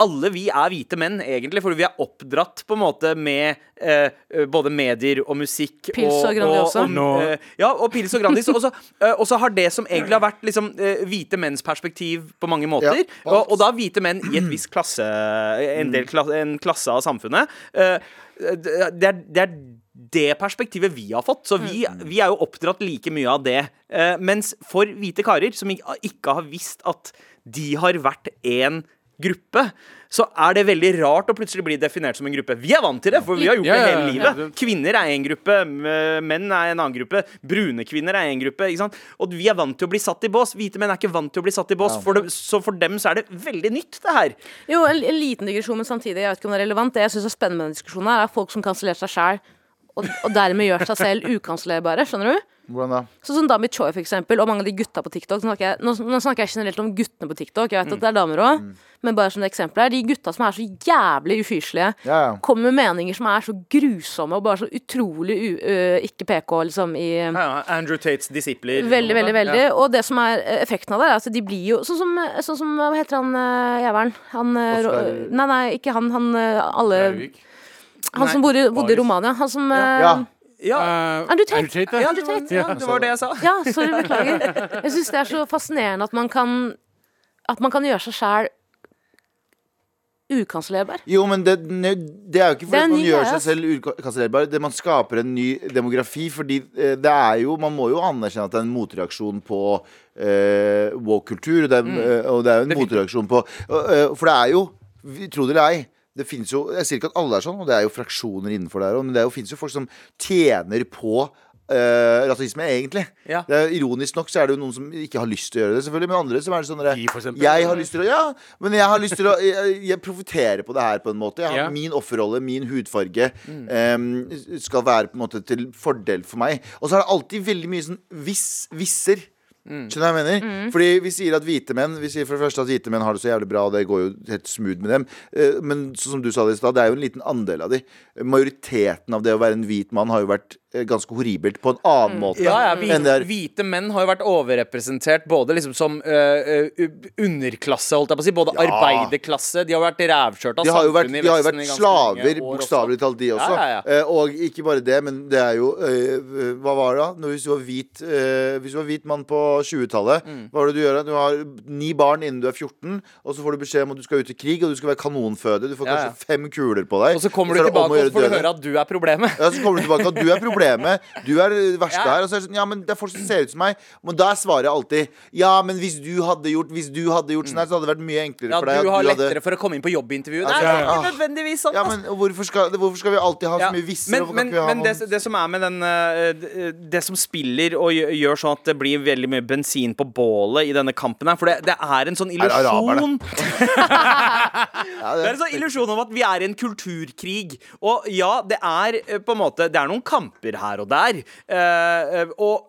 Speaker 4: Alle vi er hvite menn, egentlig, fordi vi er oppdratt på en måte med eh, eh, både medier og musikk
Speaker 6: Pils og Grandiosa.
Speaker 4: og,
Speaker 5: Nå.
Speaker 4: eh, ja, og Pils og Grandis. Og så eh, og så har det som egentlig har vært liksom, eh, hvite menns perspektiv på mange måter,
Speaker 3: Ja,
Speaker 4: og, og da hvite menn i et visst klasse En, del kla, en klasse av samfunnet eh, det, er, det er det perspektivet vi har fått. Så vi, vi er jo oppdratt like mye av det. Eh, mens for hvite karer, som ik- ikke har visst at de har vært en gruppe, så er det veldig rart å plutselig bli definert som en gruppe. Vi er vant til det, for vi har gjort
Speaker 5: Ja,
Speaker 4: det
Speaker 5: ja,
Speaker 4: hele
Speaker 5: ja.
Speaker 4: livet. Kvinner er en gruppe, m- menn er en annen gruppe, brune kvinner er en gruppe. Ikke sant? Og vi er vant til å bli satt i bås. Hvite menn er ikke vant til å bli satt i bås, for dem, så for dem så er det veldig nytt, det her.
Speaker 6: Jo, en, en liten digresjon, men samtidig, jeg vet ikke om det er relevant. Det jeg syns er spennende med denne diskusjonen, her, er folk som kansellerer seg sjæl, og, og dermed gjør seg selv ukansellerbare. Skjønner du?
Speaker 3: Hvordan da?
Speaker 6: Sånn som Dami Choi, for eksempel, og mange av de gutta på TikTok. Nå snakker jeg, nå, nå snakker jeg generelt om guttene på TikTok, jeg vet at det er damer
Speaker 3: Mm.
Speaker 6: òg, men bare som det eksempelet her. De gutta som er så jævlig ufyselige,
Speaker 3: Ja, ja.
Speaker 6: kommer med meninger som er så grusomme og bare så utrolig u, ø, ikke PK, liksom, i
Speaker 4: Andrew Tates disipler.
Speaker 6: Veldig, veldig, veldig. Og det som er eh, effekten av det, er at de blir jo sånn som, sånn som Hva heter han eh, jævelen? Han eh, rå-
Speaker 3: Oscar-
Speaker 6: Nei, nei, ikke han. Han, eh, alle,
Speaker 5: Breivik.
Speaker 6: han som bodde, bodde i
Speaker 5: Baris.
Speaker 6: Romania. Han som eh,
Speaker 3: Ja.
Speaker 4: Ja,
Speaker 5: Eh,
Speaker 6: Er du teit?
Speaker 5: ja?
Speaker 6: Er du teit?
Speaker 5: Ja.
Speaker 4: det var det jeg sa.
Speaker 6: Ja, sorry, beklager. Jeg syns det er så fascinerende at man kan At man kan gjøre seg sjæl ukansellerbar.
Speaker 3: Jo, men det, ne- det er jo ikke
Speaker 6: Det er
Speaker 3: fordi
Speaker 6: en
Speaker 3: man
Speaker 6: ny
Speaker 3: gjør
Speaker 6: greie,
Speaker 3: seg
Speaker 6: ass.
Speaker 3: selv ukansellerbar. Det- Man skaper en ny demografi, fordi eh, det er jo Man må jo anerkjenne at det er en motreaksjon på eh, woke-kultur. Og, det er-
Speaker 6: Mm.
Speaker 3: eh, og det er jo en motreaksjon på eh, eh, For det er jo, vi- tro det eller ei det finnes jo, Jeg sier ikke at alle er sånn, og det er jo fraksjoner innenfor der òg, men det er jo- finnes jo folk som tjener på eh, rasisme, egentlig.
Speaker 4: Ja.
Speaker 3: Det er, ironisk nok så er det jo noen som ikke har lyst til å gjøre det, selvfølgelig, men andre som er sånn der,
Speaker 5: Vi, for eksempel.
Speaker 3: Jeg har lyst til å Ja, men jeg har lyst til å Jeg, jeg profitterer på det her på en måte. Jeg har
Speaker 5: Ja.
Speaker 3: Min offerrolle, min hudfarge, em, skal være på en måte til fordel for meg. Og så er det alltid veldig mye sånn hvis, visser. Skjønner du hva jeg mener? Fordi vi sier at hvite menn Vi sier for det første at hvite menn har det så jævlig bra, og det går jo helt smooth med dem. Eh, Men sånn som du sa det i stad, det er jo en liten andel av de. Majoriteten av det å være en hvit mann har jo vært eh, ganske horribelt på en annen måte
Speaker 4: Ja, ja,
Speaker 3: enn det er
Speaker 4: hvite, hvite menn har jo vært overrepresentert både liksom som øh, øh, underklasse, holdt jeg på å si, både arbeiderklasse De har vært rævkjørt av
Speaker 3: De har jo vært,
Speaker 4: samfunnet i
Speaker 3: de har jo vært
Speaker 4: Vesten i ganske
Speaker 3: slaver,
Speaker 4: mange år også.
Speaker 3: bokstavelig talt, de også.
Speaker 4: Ja, ja, ja.
Speaker 3: Eh, og ikke bare det, men det er jo eh, eh, Hva var det da? Når, hvis, du var hvit, eh, hvis du var hvit mann på 20-tallet,
Speaker 4: Mm.
Speaker 3: hva var det du gjør? da? Du har ni barn innen du er 14, og så får du beskjed om at du skal ut i krig, og du skal være kanonføde. Du får
Speaker 4: Ja, ja.
Speaker 3: kanskje fem kuler på deg.
Speaker 4: Og så kommer
Speaker 3: er
Speaker 4: du
Speaker 3: det om å
Speaker 4: tilbake og
Speaker 3: gjøre
Speaker 4: så får du
Speaker 3: døden.
Speaker 4: høre at du er problemet.
Speaker 3: Ja, så kommer du tilbake og du er problemet. Du er det verste
Speaker 4: Ja.
Speaker 3: her. Og så er det sånn, ja, men det er folk som ser ut som meg. Men da er svaret alltid ja, men hvis du hadde gjort Hvis du hadde gjort sånn her, så hadde det vært mye enklere
Speaker 4: Ja,
Speaker 3: for deg. at
Speaker 4: du har
Speaker 3: du hadde-
Speaker 4: lettere for å komme inn på jobbintervju.
Speaker 3: Altså,
Speaker 4: Nei, det er
Speaker 3: ja.
Speaker 4: ikke nødvendigvis sånn.
Speaker 3: Ja,
Speaker 4: ass.
Speaker 3: men hvorfor skal, hvorfor skal vi alltid ha så
Speaker 4: Ja.
Speaker 3: mye visser?
Speaker 4: Men,
Speaker 3: Hvorfor kan
Speaker 4: men,
Speaker 3: ikke vi ha
Speaker 4: men
Speaker 3: noen-
Speaker 4: det, det som er med den eh, det- Det som spiller og gjør, gjør sånn at det blir veldig mye bensin på bålet i denne kampen her, for det, det er en sånn
Speaker 3: Er det araberne?
Speaker 4: illusjon
Speaker 3: Ja, det-
Speaker 4: Det er en sånn illusjon om at vi er i en kulturkrig. Og ja, det er eh, på en måte Det er noen kamper her og der. Eh, eh, og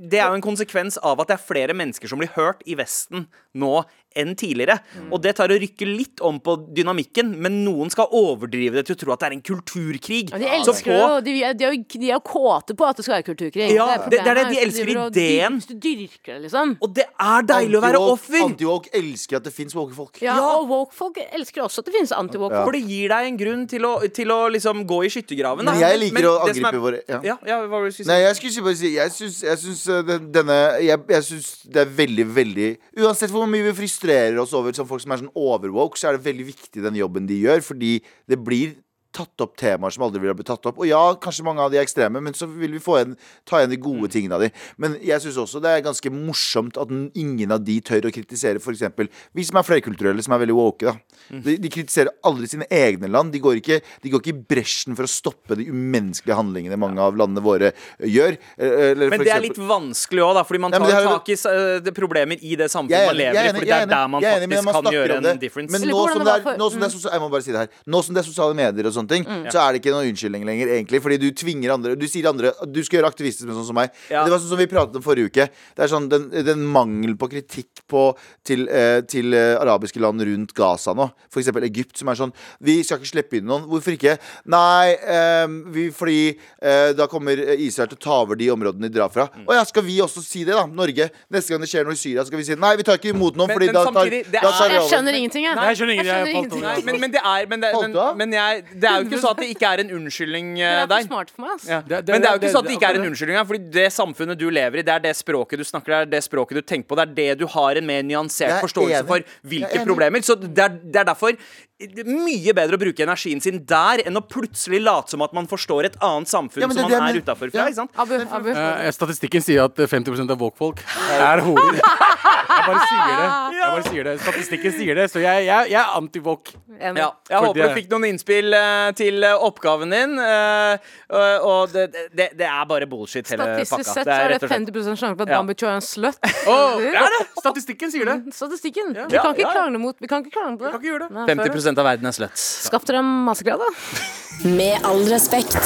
Speaker 4: det er jo en konsekvens av at det er flere mennesker som blir hørt i Vesten nå enn tidligere.
Speaker 3: Mm.
Speaker 4: Og det tar å rykke litt om på dynamikken, men noen skal overdrive det til å tro at det er en kulturkrig.
Speaker 6: Men De
Speaker 4: Så
Speaker 6: elsker
Speaker 4: på-
Speaker 6: det jo. De, de, er jo- de er jo kåte på at det skal være kulturkrig.
Speaker 4: Ja, det- det er det
Speaker 6: problemet,
Speaker 4: de
Speaker 6: hvis
Speaker 4: elsker
Speaker 6: driver og
Speaker 4: ideen.
Speaker 6: dyr- Hvis du dyrker det, liksom.
Speaker 4: Og det er deilig å være
Speaker 3: Anti-woke-
Speaker 4: offer!
Speaker 3: Anti-woke elsker at det fins woke-folk.
Speaker 6: Ja, og woke-folk elsker også at det finnes anti-woke.
Speaker 4: For det gir deg en grunn til å, til å liksom gå i skyttergraven. da.
Speaker 3: Men jeg liker å
Speaker 4: det som
Speaker 3: angripe våre- ja.
Speaker 4: Ja, ja, hva var det du skulle si?
Speaker 3: Nei, jeg skulle ikke bare si Jeg syns, jeg syns eh, den- denne jeg, jeg syns det er veldig, veldig Uansett hvor mye vi frustrerer oss over som folk som er sånn overwoke, så er det veldig viktig den jobben de gjør, fordi det blir tatt opp temaer som aldri ville ha blitt tatt opp. Og ja, kanskje mange av de er ekstreme, men så vil vi få igjen, ta igjen de gode tingene av de. Men jeg syns også det er ganske morsomt at n- ingen av de tør å kritisere f.eks. vi som er flerkulturelle, som er veldig woke, da.
Speaker 4: Mm.
Speaker 3: De, de kritiserer aldri sine egne land. De går, ikke, de går ikke i bresjen for å stoppe de umenneskelige handlingene mange av landene våre eh, gjør. Eh, Eller
Speaker 4: Men
Speaker 3: for
Speaker 4: det er
Speaker 3: eksempel-
Speaker 4: litt vanskelig òg, fordi man
Speaker 3: Ja,
Speaker 4: tar
Speaker 3: men det har jo-
Speaker 4: tak i eh, det problemer i det samfunnet
Speaker 3: Jeg er
Speaker 4: man
Speaker 3: enig,
Speaker 4: lever
Speaker 3: jeg er
Speaker 4: i.
Speaker 3: enig,
Speaker 4: Fordi det
Speaker 3: jeg er
Speaker 4: er
Speaker 3: enig,
Speaker 4: der man
Speaker 3: jeg er enig, men
Speaker 4: faktisk
Speaker 3: man
Speaker 4: kan
Speaker 3: snakker
Speaker 4: gjøre
Speaker 3: om
Speaker 4: en
Speaker 3: det.
Speaker 4: difference.
Speaker 3: Men
Speaker 6: Eller
Speaker 3: nå
Speaker 6: hvordan
Speaker 3: som,
Speaker 6: det
Speaker 3: det
Speaker 6: var
Speaker 3: er,
Speaker 6: for-
Speaker 3: nå som det er sos- jeg må bare si det her Nå som det er sosiale medier og sånne ting,
Speaker 4: Mm.
Speaker 3: så er det ikke noen unnskyldning lenger, egentlig. Fordi du tvinger andre Du sier andre at Du skal gjøre aktivisme sånn som meg.
Speaker 4: Ja.
Speaker 3: Det var sånn som vi pratet om forrige uke. Det er sånn den, den mangel på kritikk på, til, eh, til eh, arabiske land rundt Gaza nå, For eksempel Egypt, som er sånn Vi skal ikke slippe inn noen. Hvorfor ikke? Nei, eh, vi, fordi eh, da kommer Israel til å ta over de områdene de drar fra.
Speaker 4: Mm.
Speaker 3: Å ja, skal vi også si det, da? Norge. Neste gang det skjer noe i Syria, skal vi si nei, vi tar ikke imot noen,
Speaker 4: Men-
Speaker 3: fordi
Speaker 4: men
Speaker 3: da tar,
Speaker 4: samtidig, det
Speaker 3: da
Speaker 4: er-
Speaker 3: tar vi
Speaker 6: Jeg
Speaker 3: over.
Speaker 6: skjønner ingenting, jeg.
Speaker 5: Nei, jeg skjønner ingenting, jeg falt over.
Speaker 4: Nei, men, men det er Men, det,
Speaker 3: Holdt du
Speaker 4: men,
Speaker 3: av?
Speaker 4: men jeg, det er jo ikke så at det ikke er en unnskyldning eh,
Speaker 6: Det er for
Speaker 4: der.
Speaker 6: smart for meg, ass.
Speaker 4: Ja.
Speaker 5: Det- det-
Speaker 4: Men det er jo
Speaker 5: det-
Speaker 4: ikke sånn at
Speaker 5: det-
Speaker 4: det ikke er en
Speaker 5: akkurat.
Speaker 4: unnskyldning her, Fordi det samfunnet du lever i, det er det språket du snakker, det er det språket du tenker på, det er det du har en mer
Speaker 3: Jeg
Speaker 4: nyansert
Speaker 3: er
Speaker 4: forståelse
Speaker 3: enig.
Speaker 4: for
Speaker 3: Jeg er
Speaker 4: hvilke
Speaker 3: enig.
Speaker 4: problemer. Så det er, det er derfor mye bedre å bruke energien sin der enn å plutselig late som at man forstår et annet samfunn
Speaker 3: Ja, men det
Speaker 4: som
Speaker 3: er det
Speaker 4: man
Speaker 3: jeg mener.
Speaker 4: er utafor
Speaker 3: Ja.
Speaker 4: fra. Ikke sant?
Speaker 6: Abu, Abu.
Speaker 5: Eh, statistikken sier at eh, 50 av walkfolk er horer. Jeg bare sier det. Jeg bare sier det. Statistikken sier det, så jeg, jeg, jeg er anti-walk.
Speaker 6: Enig.
Speaker 4: Ja, jeg
Speaker 5: Fordi-
Speaker 4: håper du fikk noen innspill eh, til eh, oppgaven din. eh, og- og det, det, det er bare bullshit, hele
Speaker 6: Statistisk
Speaker 4: pakka.
Speaker 6: sett
Speaker 4: Det
Speaker 6: så
Speaker 4: er
Speaker 6: er
Speaker 4: rett
Speaker 6: det
Speaker 4: og slett
Speaker 6: 50 sjanse for at
Speaker 4: Ja.
Speaker 6: Bambucho er en slut.
Speaker 5: Åh, det er det! Statistikken sier det.
Speaker 6: Statistikken. Vi kan ikke
Speaker 4: Ja, ja.
Speaker 6: krangle mot Vi kan ikke krangle på det.
Speaker 5: Kan ikke gjøre det.
Speaker 6: Nei, sorry.
Speaker 4: 50 av verden er sluts.
Speaker 6: Skaff dere en mastergrad, da.
Speaker 1: Med all respekt.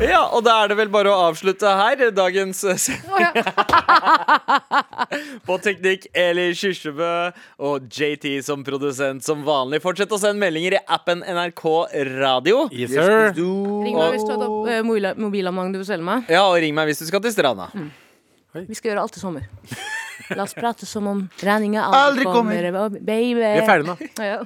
Speaker 4: Ja, og da er det vel bare å avslutte her eh, dagens eh, sending. På teknikk Eli Kyrkjebø og JT som produsent som vanlig. Fortsett å sende meldinger i appen NRK Radio.
Speaker 5: Yes, sir.
Speaker 6: Ring meg hvis du har et opp- eh, mobila- mobilabonnement du vil selge meg.
Speaker 4: Ja, og ring meg hvis du skal til stranda.
Speaker 6: Vi skal gjøre alt i sommer. La oss prate som om regninga aldri,
Speaker 3: Aldri kommer.
Speaker 6: kommer, ba- baby.
Speaker 5: Vi er ferdige nå.
Speaker 6: Ja.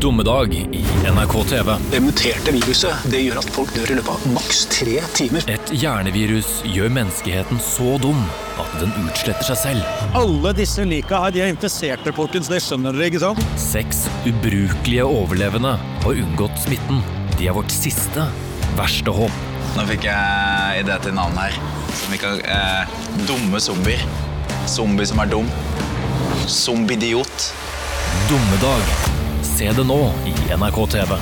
Speaker 7: Dommedag i NRK TV.
Speaker 9: Det muterte viruset det gjør at folk dør i løpet av maks tre timer.
Speaker 7: Et hjernevirus gjør menneskeheten så dum at den utsletter seg selv.
Speaker 10: Alle disse lika her, de er infiserte, folkens. Det skjønner dere, ikke sant?
Speaker 7: Seks ubrukelige overlevende har unngått smitten. De er vårt siste verste håp.
Speaker 11: Nå fikk jeg idé til navn her. Som vi kan eh, Dumme zombier. Zombie som er dum. Zombidiot.
Speaker 7: Dommedag. Se det nå i NRK TV.